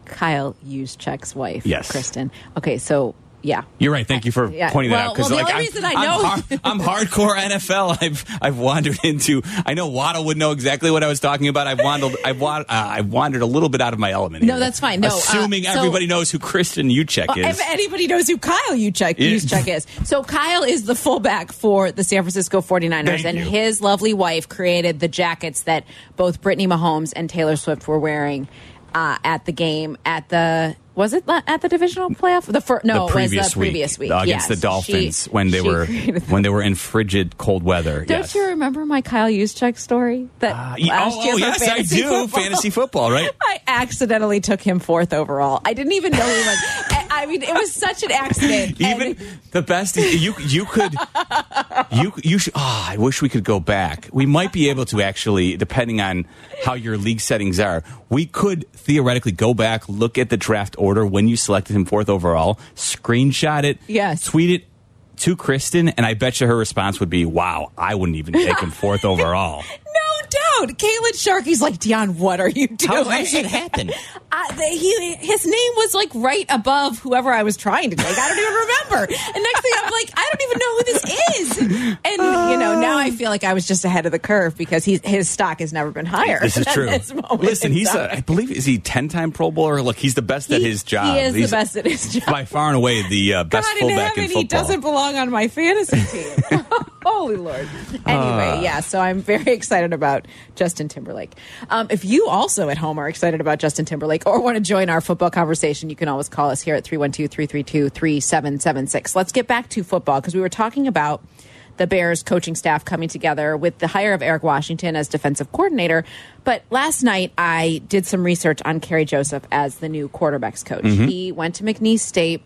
[SPEAKER 3] Kyle Yuschek's wife,
[SPEAKER 4] Yes.
[SPEAKER 3] Kristen. Okay, so yeah,
[SPEAKER 4] You're right. Thank you for
[SPEAKER 3] Yeah.
[SPEAKER 4] pointing that
[SPEAKER 3] Well-
[SPEAKER 4] out. Because
[SPEAKER 3] well, the
[SPEAKER 4] like
[SPEAKER 3] only
[SPEAKER 4] I'm,
[SPEAKER 3] reason I
[SPEAKER 4] I'm
[SPEAKER 3] know-
[SPEAKER 4] har- I'm, hardcore NFL. I've I've wandered into. I know Waddle would know exactly what I was talking about. I've wandered. I've wa- uh, I've wandered a little bit out of my element.
[SPEAKER 3] No,
[SPEAKER 4] here.
[SPEAKER 3] that's fine. No, uh,
[SPEAKER 4] assuming
[SPEAKER 3] so-
[SPEAKER 4] everybody knows who Kristen Uchek
[SPEAKER 3] Well,
[SPEAKER 4] is.
[SPEAKER 3] If anybody knows who Kyle Uchek,
[SPEAKER 4] Yeah.
[SPEAKER 3] Uchek is. So Kyle is the fullback for the San Francisco 49ers,
[SPEAKER 4] Thank
[SPEAKER 3] and
[SPEAKER 4] you.
[SPEAKER 3] his lovely wife created the jackets that both Brittany Mahomes and Taylor Swift were wearing uh, at the game at the. Was it la- at the divisional playoff? The fir- no,
[SPEAKER 4] the previous uh,
[SPEAKER 3] it was the previous week
[SPEAKER 4] against
[SPEAKER 3] Yes.
[SPEAKER 4] the Dolphins
[SPEAKER 3] She-
[SPEAKER 4] when they
[SPEAKER 3] she
[SPEAKER 4] were
[SPEAKER 3] created that.
[SPEAKER 4] when they were in frigid cold weather.
[SPEAKER 3] Don't
[SPEAKER 4] yes.
[SPEAKER 3] you remember my Kyle Uzchek story? That
[SPEAKER 4] Uh, y-
[SPEAKER 3] last
[SPEAKER 4] oh,
[SPEAKER 3] year
[SPEAKER 4] oh,
[SPEAKER 3] for
[SPEAKER 4] yes, I
[SPEAKER 3] fantasy
[SPEAKER 4] do.
[SPEAKER 3] football?
[SPEAKER 4] Fantasy football, right?
[SPEAKER 3] I accidentally took him fourth overall. I didn't even know he was. I I mean, it was such an accident. and-
[SPEAKER 4] Even the best is you you could you you should ah I wish we could go back. We might be able to actually depending on how your league settings are. We could theoretically go back, look at the draft order when you selected him fourth overall, screenshot it,
[SPEAKER 3] Yes.
[SPEAKER 4] tweet it to Kristen and I bet you her response would be, "Wow, I wouldn't even take him fourth overall."
[SPEAKER 3] No doubt. Caitlin Sharkey's like, Dion, what are you doing?
[SPEAKER 1] How, how does that happen?
[SPEAKER 3] I, the, he, his name was like right above whoever I was trying to take. I don't even remember. And next thing I'm like, I don't even know who this is. And, you know, now I feel like I was just ahead of the curve because he's, his stock has never been higher.
[SPEAKER 4] This is
[SPEAKER 3] than
[SPEAKER 4] true.
[SPEAKER 3] this moment
[SPEAKER 4] Listen,
[SPEAKER 3] in
[SPEAKER 4] he's
[SPEAKER 3] time.
[SPEAKER 4] a, I believe is he ten time Pro Bowler? Look, he's the best at
[SPEAKER 3] He-
[SPEAKER 4] his job.
[SPEAKER 3] He is
[SPEAKER 4] He's
[SPEAKER 3] the best at his job.
[SPEAKER 4] by far and away the uh, best
[SPEAKER 3] God in
[SPEAKER 4] fullback
[SPEAKER 3] heaven,
[SPEAKER 4] in football.
[SPEAKER 3] he doesn't belong on my fantasy team. Holy Lord.
[SPEAKER 4] Uh.
[SPEAKER 3] Anyway, yeah, so I'm very excited about Justin Timberlake. Um, if you also at home are excited about Justin Timberlake or want to join our football conversation, you can always call us here at 312 332 3776. Let's get back to football because we were talking about the Bears coaching staff coming together with the hire of Eric Washington as defensive coordinator. But last night, I did some research on Kerry Joseph as the new quarterbacks coach.
[SPEAKER 4] Mm-hmm.
[SPEAKER 3] He went to McNeese State.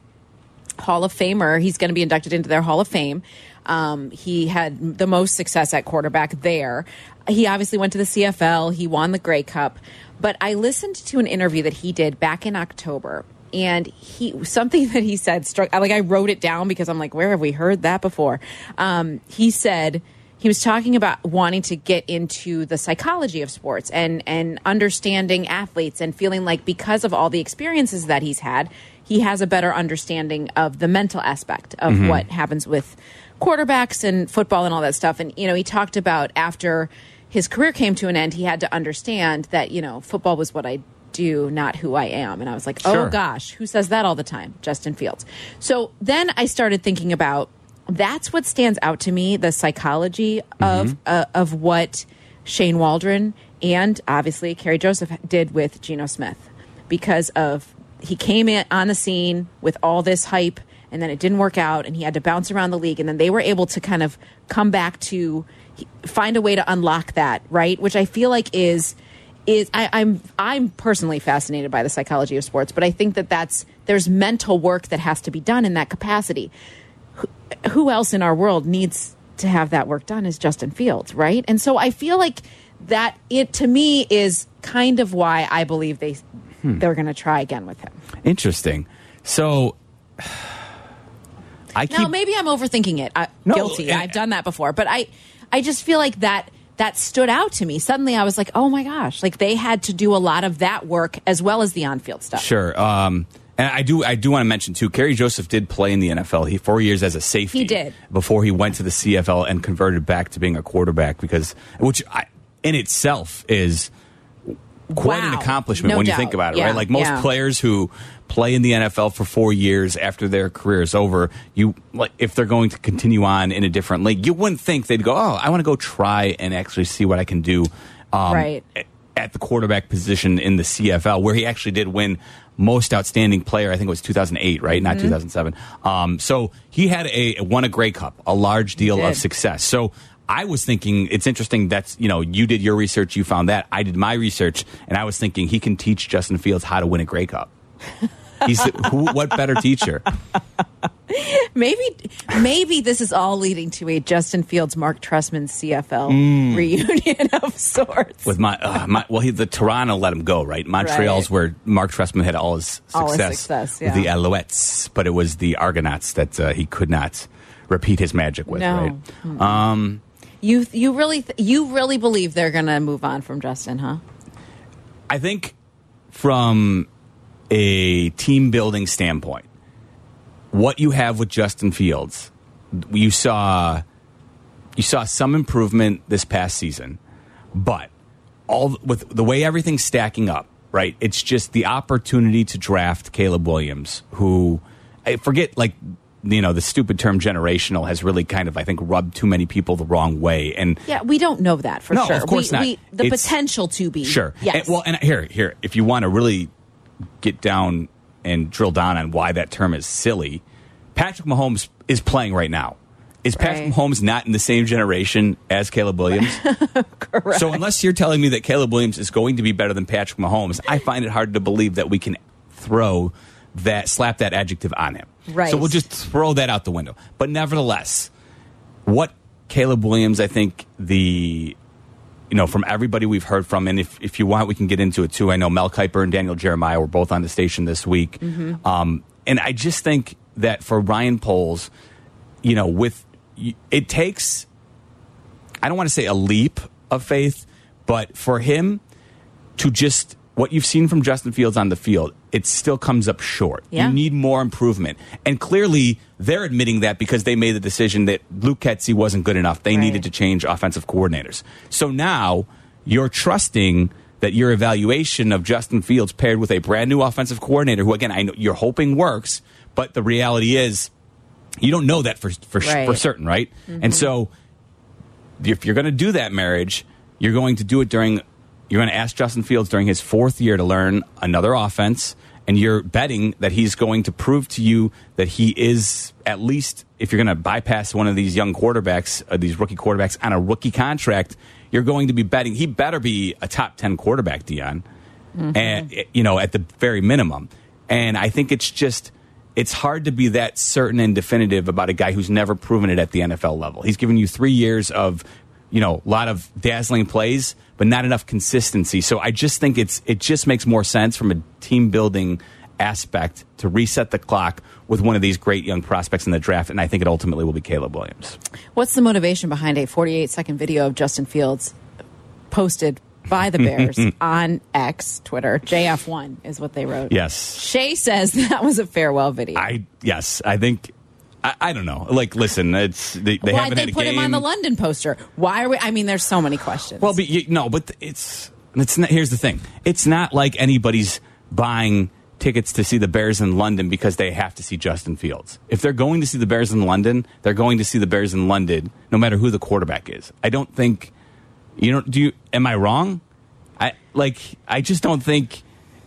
[SPEAKER 3] Hall of Famer. He's going to be inducted into their Hall of Fame. Um, he had the most success at quarterback there. He obviously went to the CFL. He won the Grey Cup. But I listened to an interview that he did back in October, and he something that he said struck. I- Like I wrote it down because I'm like, where have we heard that before? Um, he said he was talking about wanting to get into the psychology of sports and and understanding athletes and feeling like because of all the experiences that he's had he has a better understanding of the mental aspect of what happens with quarterbacks and football and all that stuff and you know he talked about after his career came to an end, he had to understand that, you know, football was what I do, not who I am. And I was like,
[SPEAKER 4] Sure.
[SPEAKER 3] oh gosh, who says that all the time? Justin Fields. So then I started thinking about that's what stands out to me the psychology of, uh, of what Shane Waldron and obviously Kerry Joseph did with Geno Smith because of he came in on the scene with all this hype and then it didn't work out and he had to bounce around the league and then they were able to kind of come back to find a way to unlock that right which i feel like is is I, i'm i'm personally fascinated by the psychology of sports but i think that that's there's mental work that has to be done in that capacity who else in our world needs to have that work done is Justin Fields, right? And so I feel like that it to me is kind of why I believe they they're going to try again with him.
[SPEAKER 4] Interesting. So I keep
[SPEAKER 3] Now maybe I'm overthinking it. I,
[SPEAKER 4] No,
[SPEAKER 3] guilty.
[SPEAKER 4] and-
[SPEAKER 3] I've done that before, but I I just feel like that that stood out to me. Suddenly I was like, "Oh my gosh, like they had to do a lot of that work as well as the on-field stuff."
[SPEAKER 4] sure. Um, and I do I do want to mention too. Kerry Joseph did play in the NFL. He four years as a safety.
[SPEAKER 3] He did.
[SPEAKER 4] before he went to the CFL and converted back to being a quarterback because which I, in itself is quite an
[SPEAKER 3] Wow.
[SPEAKER 4] accomplishment
[SPEAKER 3] No
[SPEAKER 4] when you
[SPEAKER 3] doubt.
[SPEAKER 4] think about it,
[SPEAKER 3] Yeah.
[SPEAKER 4] right? Like most
[SPEAKER 3] Yeah.
[SPEAKER 4] players who play in the NFL for four years after their career is over, you like if they're going to continue on in a different league, you wouldn't think they'd go, "Oh, I want to go try and actually see what I can do." Um,
[SPEAKER 3] Right.
[SPEAKER 4] a- At the quarterback position in the CFL, where he actually did win most outstanding player, I think it was 2008, right? Not 2007. Um, so he had a won a Grey Cup, a large deal of
[SPEAKER 3] did.
[SPEAKER 4] success success. So I was thinking it's interesting that's you know you did your research, you found that. I did my research, and I was thinking he can teach Justin Fields how to win a Grey Cup. He's who, what better teacher?
[SPEAKER 3] Maybe maybe this is all leading to a Justin Fields Mark Trussman CFL
[SPEAKER 4] Mm.
[SPEAKER 3] reunion of sorts.
[SPEAKER 4] With my, uh, my well, he, the Toronto let him go, right? Montreal's
[SPEAKER 3] Right.
[SPEAKER 4] where Mark Trestman had all his success,
[SPEAKER 3] All his success,
[SPEAKER 4] with the
[SPEAKER 3] yeah.
[SPEAKER 4] Alouettes, but it was the Argonauts that uh, he could not repeat his magic with,
[SPEAKER 3] No.
[SPEAKER 4] right?
[SPEAKER 3] You you really th- you really believe they're gonna move on from Justin, huh?
[SPEAKER 4] I think from a team building standpoint, what you have with Justin Fields, you saw you saw some improvement this past season, but all with the way everything's stacking up, right? It's just the opportunity to draft Caleb Williams, who I forget like you know the stupid term generational has really kind of I think rubbed too many people the wrong way, and
[SPEAKER 3] Yeah, we don't know that for
[SPEAKER 4] No,
[SPEAKER 3] sure.
[SPEAKER 4] of course
[SPEAKER 3] we,
[SPEAKER 4] not.
[SPEAKER 3] We, the
[SPEAKER 4] It's-
[SPEAKER 3] potential to be.
[SPEAKER 4] Sure.
[SPEAKER 3] Yes.
[SPEAKER 4] And- well, and here, here, if you want to really get down and drill down on why that term is silly, Patrick Mahomes is playing right now. Is Patrick
[SPEAKER 3] Right.
[SPEAKER 4] Mahomes not in the same generation as Caleb Williams? Correct. So unless you're telling me that Caleb Williams is going to be better than Patrick Mahomes, I find it hard to believe that we can throw that slap that adjective on him.
[SPEAKER 3] Right.
[SPEAKER 4] So we'll just throw that out the window. But nevertheless, what Caleb Williams, I think the you know, from everybody we've heard from, and if, if you want, we can get into it too. I know Mel Kiper and Daniel Jeremiah were both on the station this week. Um, and I just think that for Ryan Poles, you know, with y- it takes, I don't want to say a leap of faith, but for him to just what you've seen from Justin Fields on the field, it still comes up short.
[SPEAKER 3] Yeah.
[SPEAKER 4] You need more improvement. And clearly, they're admitting that because they made the decision that Luke Ketsey wasn't good enough. They
[SPEAKER 3] Right.
[SPEAKER 4] needed to change offensive coordinators. So now you're trusting that your evaluation of Justin Fields paired with a brand new offensive coordinator, who again I know you're hoping works, but the reality is you don't know that for for
[SPEAKER 3] Right.
[SPEAKER 4] for certain, right? And so if you're going to do that marriage, you're going to do it during you're going to ask Justin Fields during his fourth year to learn another offense and you're betting that he's going to prove to you that he is at least if you're going to bypass one of these young quarterbacks, uh, these rookie quarterbacks on a rookie contract, you're going to be betting he better be a top 10 quarterback, Dion
[SPEAKER 3] Mm-hmm.
[SPEAKER 4] and you know at the very minimum and i think it's just it's hard to be that certain and definitive about a guy who's never proven it at the nfl level he's given you three years of you know a lot of dazzling plays but not enough consistency so i just think it's it just makes more sense from a team building aspect to reset the clock with one of these great young prospects in the draft and i think it ultimately will be caleb williams
[SPEAKER 3] What's the motivation behind a 48 second video of Justin Fields posted by the Bears on X, Twitter? JF1 is what they wrote.
[SPEAKER 4] yes
[SPEAKER 3] Shay says that was a farewell video.
[SPEAKER 4] I yes, I think I, I don't know. Like, listen, it's they, they
[SPEAKER 3] Why'd
[SPEAKER 4] haven't
[SPEAKER 3] they
[SPEAKER 4] had a
[SPEAKER 3] put
[SPEAKER 4] game.
[SPEAKER 3] him on the London poster? Why are we? I mean, there's so many questions.
[SPEAKER 4] Well, but you, no, but it's it's not. Here's the thing: it's not like anybody's buying tickets to see the Bears in London because they have to see Justin Fields. If they're going to see the Bears in London, they're going to see the Bears in London, no matter who the quarterback is. I don't think you don't do. You, am I wrong? I like. I just don't think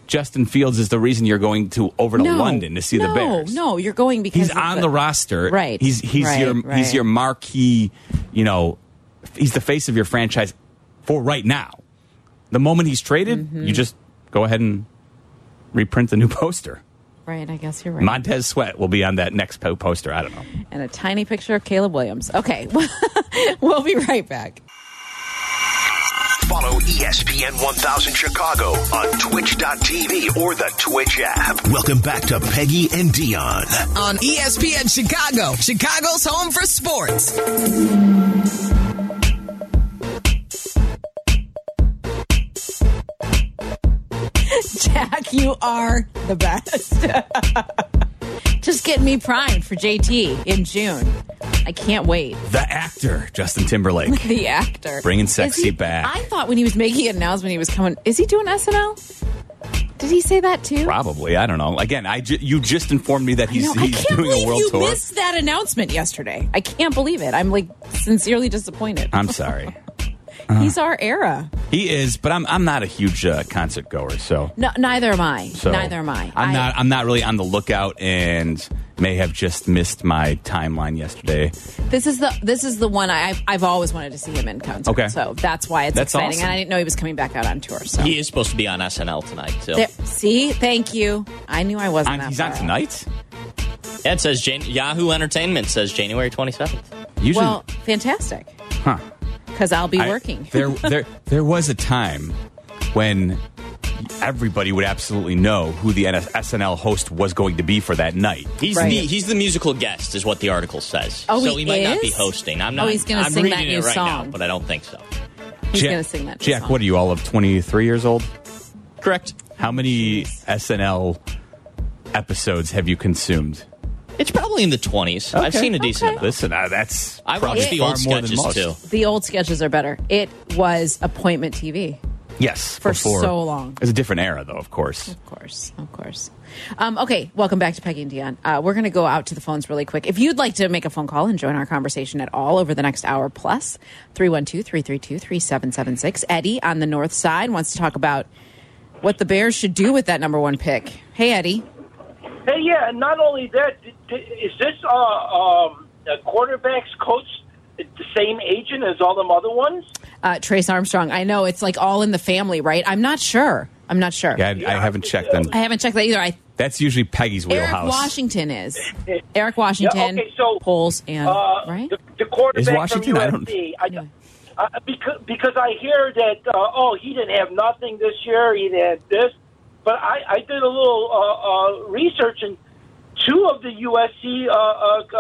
[SPEAKER 4] Justin Fields is the reason you're going to over to
[SPEAKER 3] No,
[SPEAKER 4] London to see the
[SPEAKER 3] no,
[SPEAKER 4] Bears.
[SPEAKER 3] No, you're going because
[SPEAKER 4] He's
[SPEAKER 3] of
[SPEAKER 4] on the roster.
[SPEAKER 3] Right,
[SPEAKER 4] He's he's
[SPEAKER 3] right,
[SPEAKER 4] your
[SPEAKER 3] right.
[SPEAKER 4] he's your marquee, you know, he's the face of your franchise for right now. The moment he's traded,
[SPEAKER 3] Mm-hmm.
[SPEAKER 4] you just go ahead and reprint the new poster.
[SPEAKER 3] Right, I guess you're right.
[SPEAKER 4] Montez Sweat will be on that next po- poster. I don't know.
[SPEAKER 3] and a tiny picture of Caleb Williams. Okay, we'll be right back.
[SPEAKER 7] Follow E ESPN 1000 Chicago on twitch.tv or the Twitch app. Welcome back to Peggy and Dion.
[SPEAKER 8] On E ESPN Chicago, Chicago's home for sports.
[SPEAKER 3] Jack, you are the best. Just getting me primed for JT in June. I can't wait.
[SPEAKER 4] The actor, Justin Timberlake.
[SPEAKER 3] The actor
[SPEAKER 4] Bringing
[SPEAKER 3] Is
[SPEAKER 4] sexy
[SPEAKER 3] he-
[SPEAKER 4] back.
[SPEAKER 3] I thought when he was making an announcement, he was coming. Is he doing SNL? Did he say that too?
[SPEAKER 4] Probably. I don't know. Again, I ju- you just informed me that he's,
[SPEAKER 3] No, I
[SPEAKER 4] he's
[SPEAKER 3] can't
[SPEAKER 4] doing
[SPEAKER 3] believe
[SPEAKER 4] a world
[SPEAKER 3] you
[SPEAKER 4] tour.
[SPEAKER 3] missed that announcement yesterday. I can't believe it. I'm like sincerely disappointed.
[SPEAKER 4] I'm sorry.
[SPEAKER 3] He's our era.
[SPEAKER 4] He is, but I'm I'm not a huge uh, concert goer, so
[SPEAKER 3] No, neither am I.
[SPEAKER 4] So
[SPEAKER 3] neither am I.
[SPEAKER 4] I'm
[SPEAKER 3] I-
[SPEAKER 4] not. I'm not really on the lookout, and may have just missed my timeline yesterday.
[SPEAKER 3] This is the this is the one I, I've I've always wanted to see him in concert.
[SPEAKER 4] Okay.
[SPEAKER 3] so that's why it's
[SPEAKER 4] That's
[SPEAKER 3] exciting,
[SPEAKER 4] awesome.
[SPEAKER 3] and I didn't know he was coming back out on tour. So
[SPEAKER 1] He is supposed to be on SNL tonight, too.
[SPEAKER 3] There- see, thank you. I knew I wasn't.
[SPEAKER 4] On,
[SPEAKER 3] that
[SPEAKER 4] he's on
[SPEAKER 3] far off.
[SPEAKER 4] tonight.
[SPEAKER 1] Yeah, it says Jan- Yahoo Entertainment says January 27th.
[SPEAKER 4] Usually,
[SPEAKER 3] Well, fantastic,
[SPEAKER 4] huh?
[SPEAKER 3] because I'll be
[SPEAKER 4] I-
[SPEAKER 3] working.
[SPEAKER 4] there, there, there was a time when everybody would absolutely know who the NS- SNL host was going to be for that night.
[SPEAKER 1] He's
[SPEAKER 3] Right.
[SPEAKER 1] the he's the musical guest, is what the article says.
[SPEAKER 3] Oh,
[SPEAKER 1] so
[SPEAKER 3] he
[SPEAKER 1] he, might not
[SPEAKER 3] is?
[SPEAKER 1] be hosting. I'm
[SPEAKER 3] Oh,
[SPEAKER 1] not.
[SPEAKER 3] he's gonna
[SPEAKER 1] I'm
[SPEAKER 3] sing
[SPEAKER 1] reading
[SPEAKER 3] that
[SPEAKER 1] it
[SPEAKER 3] new
[SPEAKER 1] right
[SPEAKER 3] song.
[SPEAKER 1] Now, but I don't think so.
[SPEAKER 3] He's
[SPEAKER 4] Jack-
[SPEAKER 3] gonna sing that.
[SPEAKER 4] Jack,
[SPEAKER 3] song.
[SPEAKER 4] what are you all of twenty three years old?
[SPEAKER 1] Correct.
[SPEAKER 4] How many SNL episodes have you consumed?
[SPEAKER 1] It's probably in the 20s. I've
[SPEAKER 4] Okay.
[SPEAKER 1] seen a decent.
[SPEAKER 3] Okay.
[SPEAKER 1] amount.
[SPEAKER 4] Listen, uh, that's
[SPEAKER 1] I
[SPEAKER 4] probably
[SPEAKER 1] watched the
[SPEAKER 4] far
[SPEAKER 1] old
[SPEAKER 4] more than
[SPEAKER 1] sketches
[SPEAKER 4] most.
[SPEAKER 1] too.
[SPEAKER 3] The old sketches are better. It was appointment TV.
[SPEAKER 4] Yes,
[SPEAKER 3] For
[SPEAKER 4] before.
[SPEAKER 3] so long.
[SPEAKER 4] It's a different era, though. Of course.
[SPEAKER 3] Of course, of course. Um, okay, welcome back to Peggy and Dion. Uh, we're going to go out to the phones really quick. If you'd like to make a phone call and join our conversation at all over the next hour plus, 312 332 3776. Eddie on the north side wants to talk about what the Bears should do with that number one pick. Hey, Eddie.
[SPEAKER 10] Hey, yeah, and not only that, d- d- is this uh, um, a quarterback's coach the same agent as all them other ones?
[SPEAKER 3] Uh, Trace Armstrong. I know it's like all in the family, right? I'm not sure. I'm not sure.
[SPEAKER 4] Yeah, I, I haven't checked them.
[SPEAKER 3] I haven't checked that either. I,
[SPEAKER 4] That's usually Peggy's
[SPEAKER 3] Eric
[SPEAKER 4] wheelhouse.
[SPEAKER 3] Washington is. Eric Washington,
[SPEAKER 10] okay, so,
[SPEAKER 3] polls, and,
[SPEAKER 10] Uh,
[SPEAKER 3] right?
[SPEAKER 10] The, the quarterback
[SPEAKER 4] Is Washington- I
[SPEAKER 10] from
[SPEAKER 4] don't-
[SPEAKER 10] USC. I uh, because, because I hear that, uh, oh, he didn't have nothing this year, he didn't have this. But I, I did a little uh, uh, research, and two of the USC uh, uh, uh,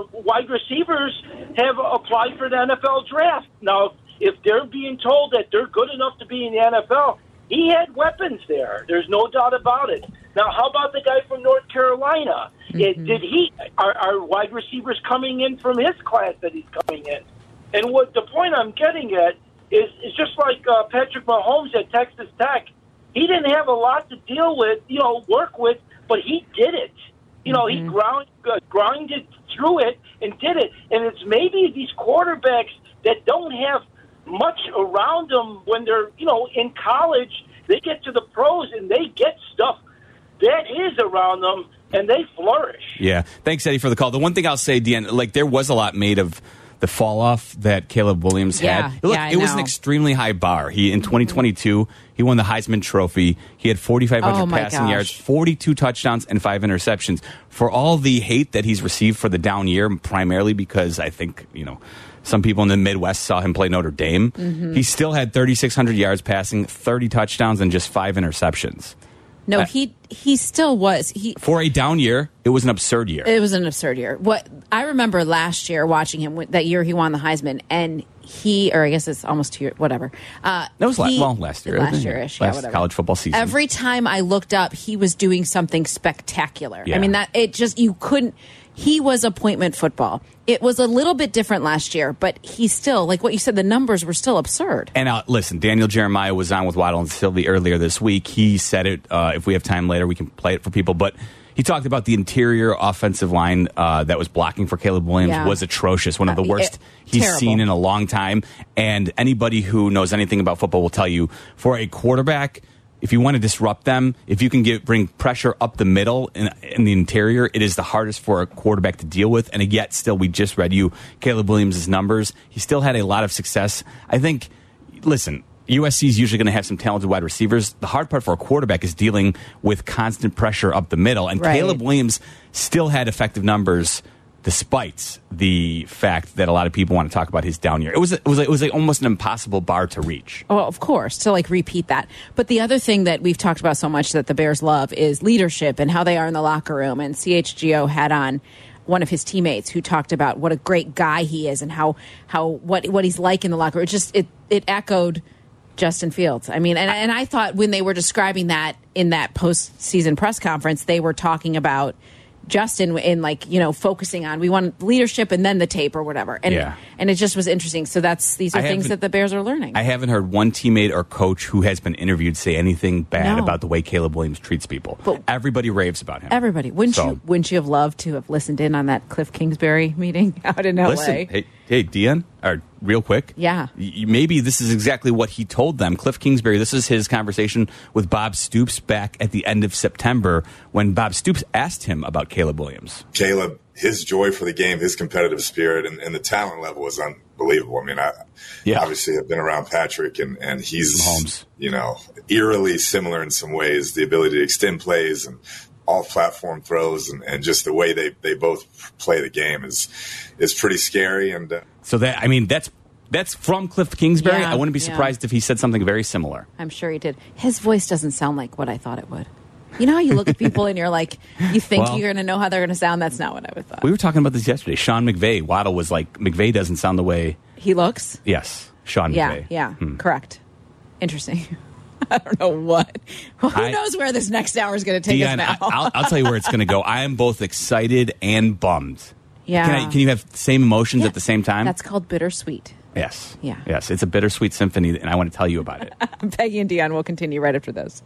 [SPEAKER 10] uh, wide receivers have applied for the NFL draft. Now, if they're being told that they're good enough to be in the NFL, he had weapons there. There's no doubt about it. Now, how about the guy from North Carolina? It- Did he? Are, are wide receivers coming in from his class that he's coming in? And what the point I'm getting at is, is just like uh, Patrick Mahomes at Texas Tech. He didn't have a lot to deal with, you know, work with, but he did it. You know, he ground, uh, grinded through it and did it. And it's maybe these quarterbacks that don't have much around them when they're, you know, in college.
[SPEAKER 7] Mm-hmm.
[SPEAKER 10] They get to the pros and they get stuff that is around them and they flourish.
[SPEAKER 4] Yeah. Thanks, Eddie, for the call. The one thing I'll say, Deanne, like there was a lot made of the fall off that Caleb Williams
[SPEAKER 3] Yeah,
[SPEAKER 4] had. Look,
[SPEAKER 3] yeah, I
[SPEAKER 4] it was an
[SPEAKER 3] know.
[SPEAKER 4] extremely high bar. He in 2022, he won the Heisman Trophy. He had 4,500
[SPEAKER 3] Oh, my
[SPEAKER 4] passing
[SPEAKER 3] gosh.
[SPEAKER 4] yards, 42 touchdowns, and five interceptions. For all the hate that he's received for the down year, primarily because I think you know some people in the Midwest saw him play Notre Dame.
[SPEAKER 3] Mm-hmm.
[SPEAKER 4] He still had 3,600 yards passing, 30 touchdowns, and just five interceptions.
[SPEAKER 3] No,
[SPEAKER 4] I-
[SPEAKER 3] he he still was. He
[SPEAKER 4] For a down year, it was an absurd year.
[SPEAKER 3] it was an absurd year. What I remember last year watching him when- that year he won the Heisman and he or I guess it's almost two year whatever. Uh,
[SPEAKER 4] That was la-
[SPEAKER 3] he-
[SPEAKER 4] well last year.
[SPEAKER 3] last
[SPEAKER 4] Yeah.
[SPEAKER 3] year ish,
[SPEAKER 4] Last
[SPEAKER 3] yeah, whatever.
[SPEAKER 4] college football season.
[SPEAKER 3] Every time I looked up, he was doing something spectacular.
[SPEAKER 4] Yeah.
[SPEAKER 3] I mean that it just you couldn't. He was appointment football. It was a little bit different last year, but he still, like what you said, the numbers were still absurd.
[SPEAKER 4] And uh, listen, Daniel Jeremiah was on with Waddle and Sylvie earlier this week. He said it. Uh, if we have time later, we can play it for people. But he talked about the interior offensive line uh, that was blocking for Caleb Williams
[SPEAKER 3] Yeah.
[SPEAKER 4] was atrocious, one of the
[SPEAKER 3] Uh,
[SPEAKER 4] worst
[SPEAKER 3] it-
[SPEAKER 4] he's
[SPEAKER 3] terrible.
[SPEAKER 4] seen in a long time. And anybody who knows anything about football will tell you for a quarterback. If you want to disrupt them, if you can get bring pressure up the middle and in the interior, it is the hardest for a quarterback to deal with. And yet, still, we just read you Caleb Williams' numbers. He still had a lot of success. I think listen, USC is usually going to have some talented wide receivers. The hard part for a quarterback is dealing with constant pressure up the middle. And
[SPEAKER 3] Right.
[SPEAKER 4] Caleb Williams still had effective numbers despite the fact that a lot of people want to talk about his down year. It was it was it was like almost an impossible bar to reach.
[SPEAKER 3] Well, Oh, of course, to like repeat that. But the other thing that we've talked about so much that the Bears love is leadership and how they are in the locker room. And CHGO had on one of his teammates who talked about what a great guy he is and how how what what he's like in the locker room. It just it it echoed Justin Fields. I mean, and and I thought when they were describing that in that postseason press conference, they were talking about Justin in like you know focusing on we want leadership and then the tape or whatever. And
[SPEAKER 4] Yeah.
[SPEAKER 3] and it just was interesting. So that's these are
[SPEAKER 4] I
[SPEAKER 3] things
[SPEAKER 4] haven't-
[SPEAKER 3] that the Bears are learning.
[SPEAKER 4] I haven't heard one teammate or coach who has been interviewed say anything bad
[SPEAKER 3] No.
[SPEAKER 4] about the way Caleb Williams treats people.
[SPEAKER 3] But-
[SPEAKER 4] Everybody raves about him.
[SPEAKER 3] Everybody, wouldn't
[SPEAKER 4] So-
[SPEAKER 3] you? Wouldn't you have loved to have listened in on that Cliff Kingsbury meeting out in LA?
[SPEAKER 4] Listen, hey, hey, Dion, or real quick.
[SPEAKER 3] Yeah.
[SPEAKER 4] Y- y- maybe this is exactly what he told them. Cliff Kingsbury, this is his conversation with Bob Stoops back at the end of September when Bob Stoops asked him about Caleb Williams.
[SPEAKER 11] Caleb, his joy for the game, his competitive spirit, and, and the talent level is unbelievable. I mean, I
[SPEAKER 4] Yeah.
[SPEAKER 11] obviously have been around Patrick, and, and he's,
[SPEAKER 4] Mahomes.
[SPEAKER 11] you know, eerily similar in some ways the ability to extend plays and off platform throws, and, and just the way they, they both play the game is, is pretty scary. And, uh,
[SPEAKER 4] So that, I mean, that's that's from Cliff Kingsbury.
[SPEAKER 3] Yeah,
[SPEAKER 4] I wouldn't be
[SPEAKER 3] yeah.
[SPEAKER 4] surprised if he said something very similar.
[SPEAKER 3] I'm sure he did. His voice doesn't sound like what I thought it would. You know how you look at people and you're like, you think
[SPEAKER 4] Well-
[SPEAKER 3] you're going to know how they're going to sound. That's not what I would thought.
[SPEAKER 4] We were talking about this yesterday. Sean McVay, Waddle was like, McVay doesn't sound the way.
[SPEAKER 3] He looks.
[SPEAKER 4] Yes, Sean
[SPEAKER 3] Yeah,
[SPEAKER 4] McVay.
[SPEAKER 3] yeah,
[SPEAKER 4] Hmm.
[SPEAKER 3] correct. Interesting. I don't know what. Well, who
[SPEAKER 4] I-
[SPEAKER 3] knows where this next hour is going to take us
[SPEAKER 4] Deanne,
[SPEAKER 3] now?
[SPEAKER 4] I, I'll, I'll tell you where it's going to go. I am both excited and bummed.
[SPEAKER 3] Yeah.
[SPEAKER 4] Can, I, can you have the same emotions at the same time?
[SPEAKER 3] That's called bittersweet.
[SPEAKER 4] yes.
[SPEAKER 3] Yeah.
[SPEAKER 4] Yes. It's a bittersweet symphony, and I want to tell you about it.
[SPEAKER 3] Peggy and Dion will continue right after this.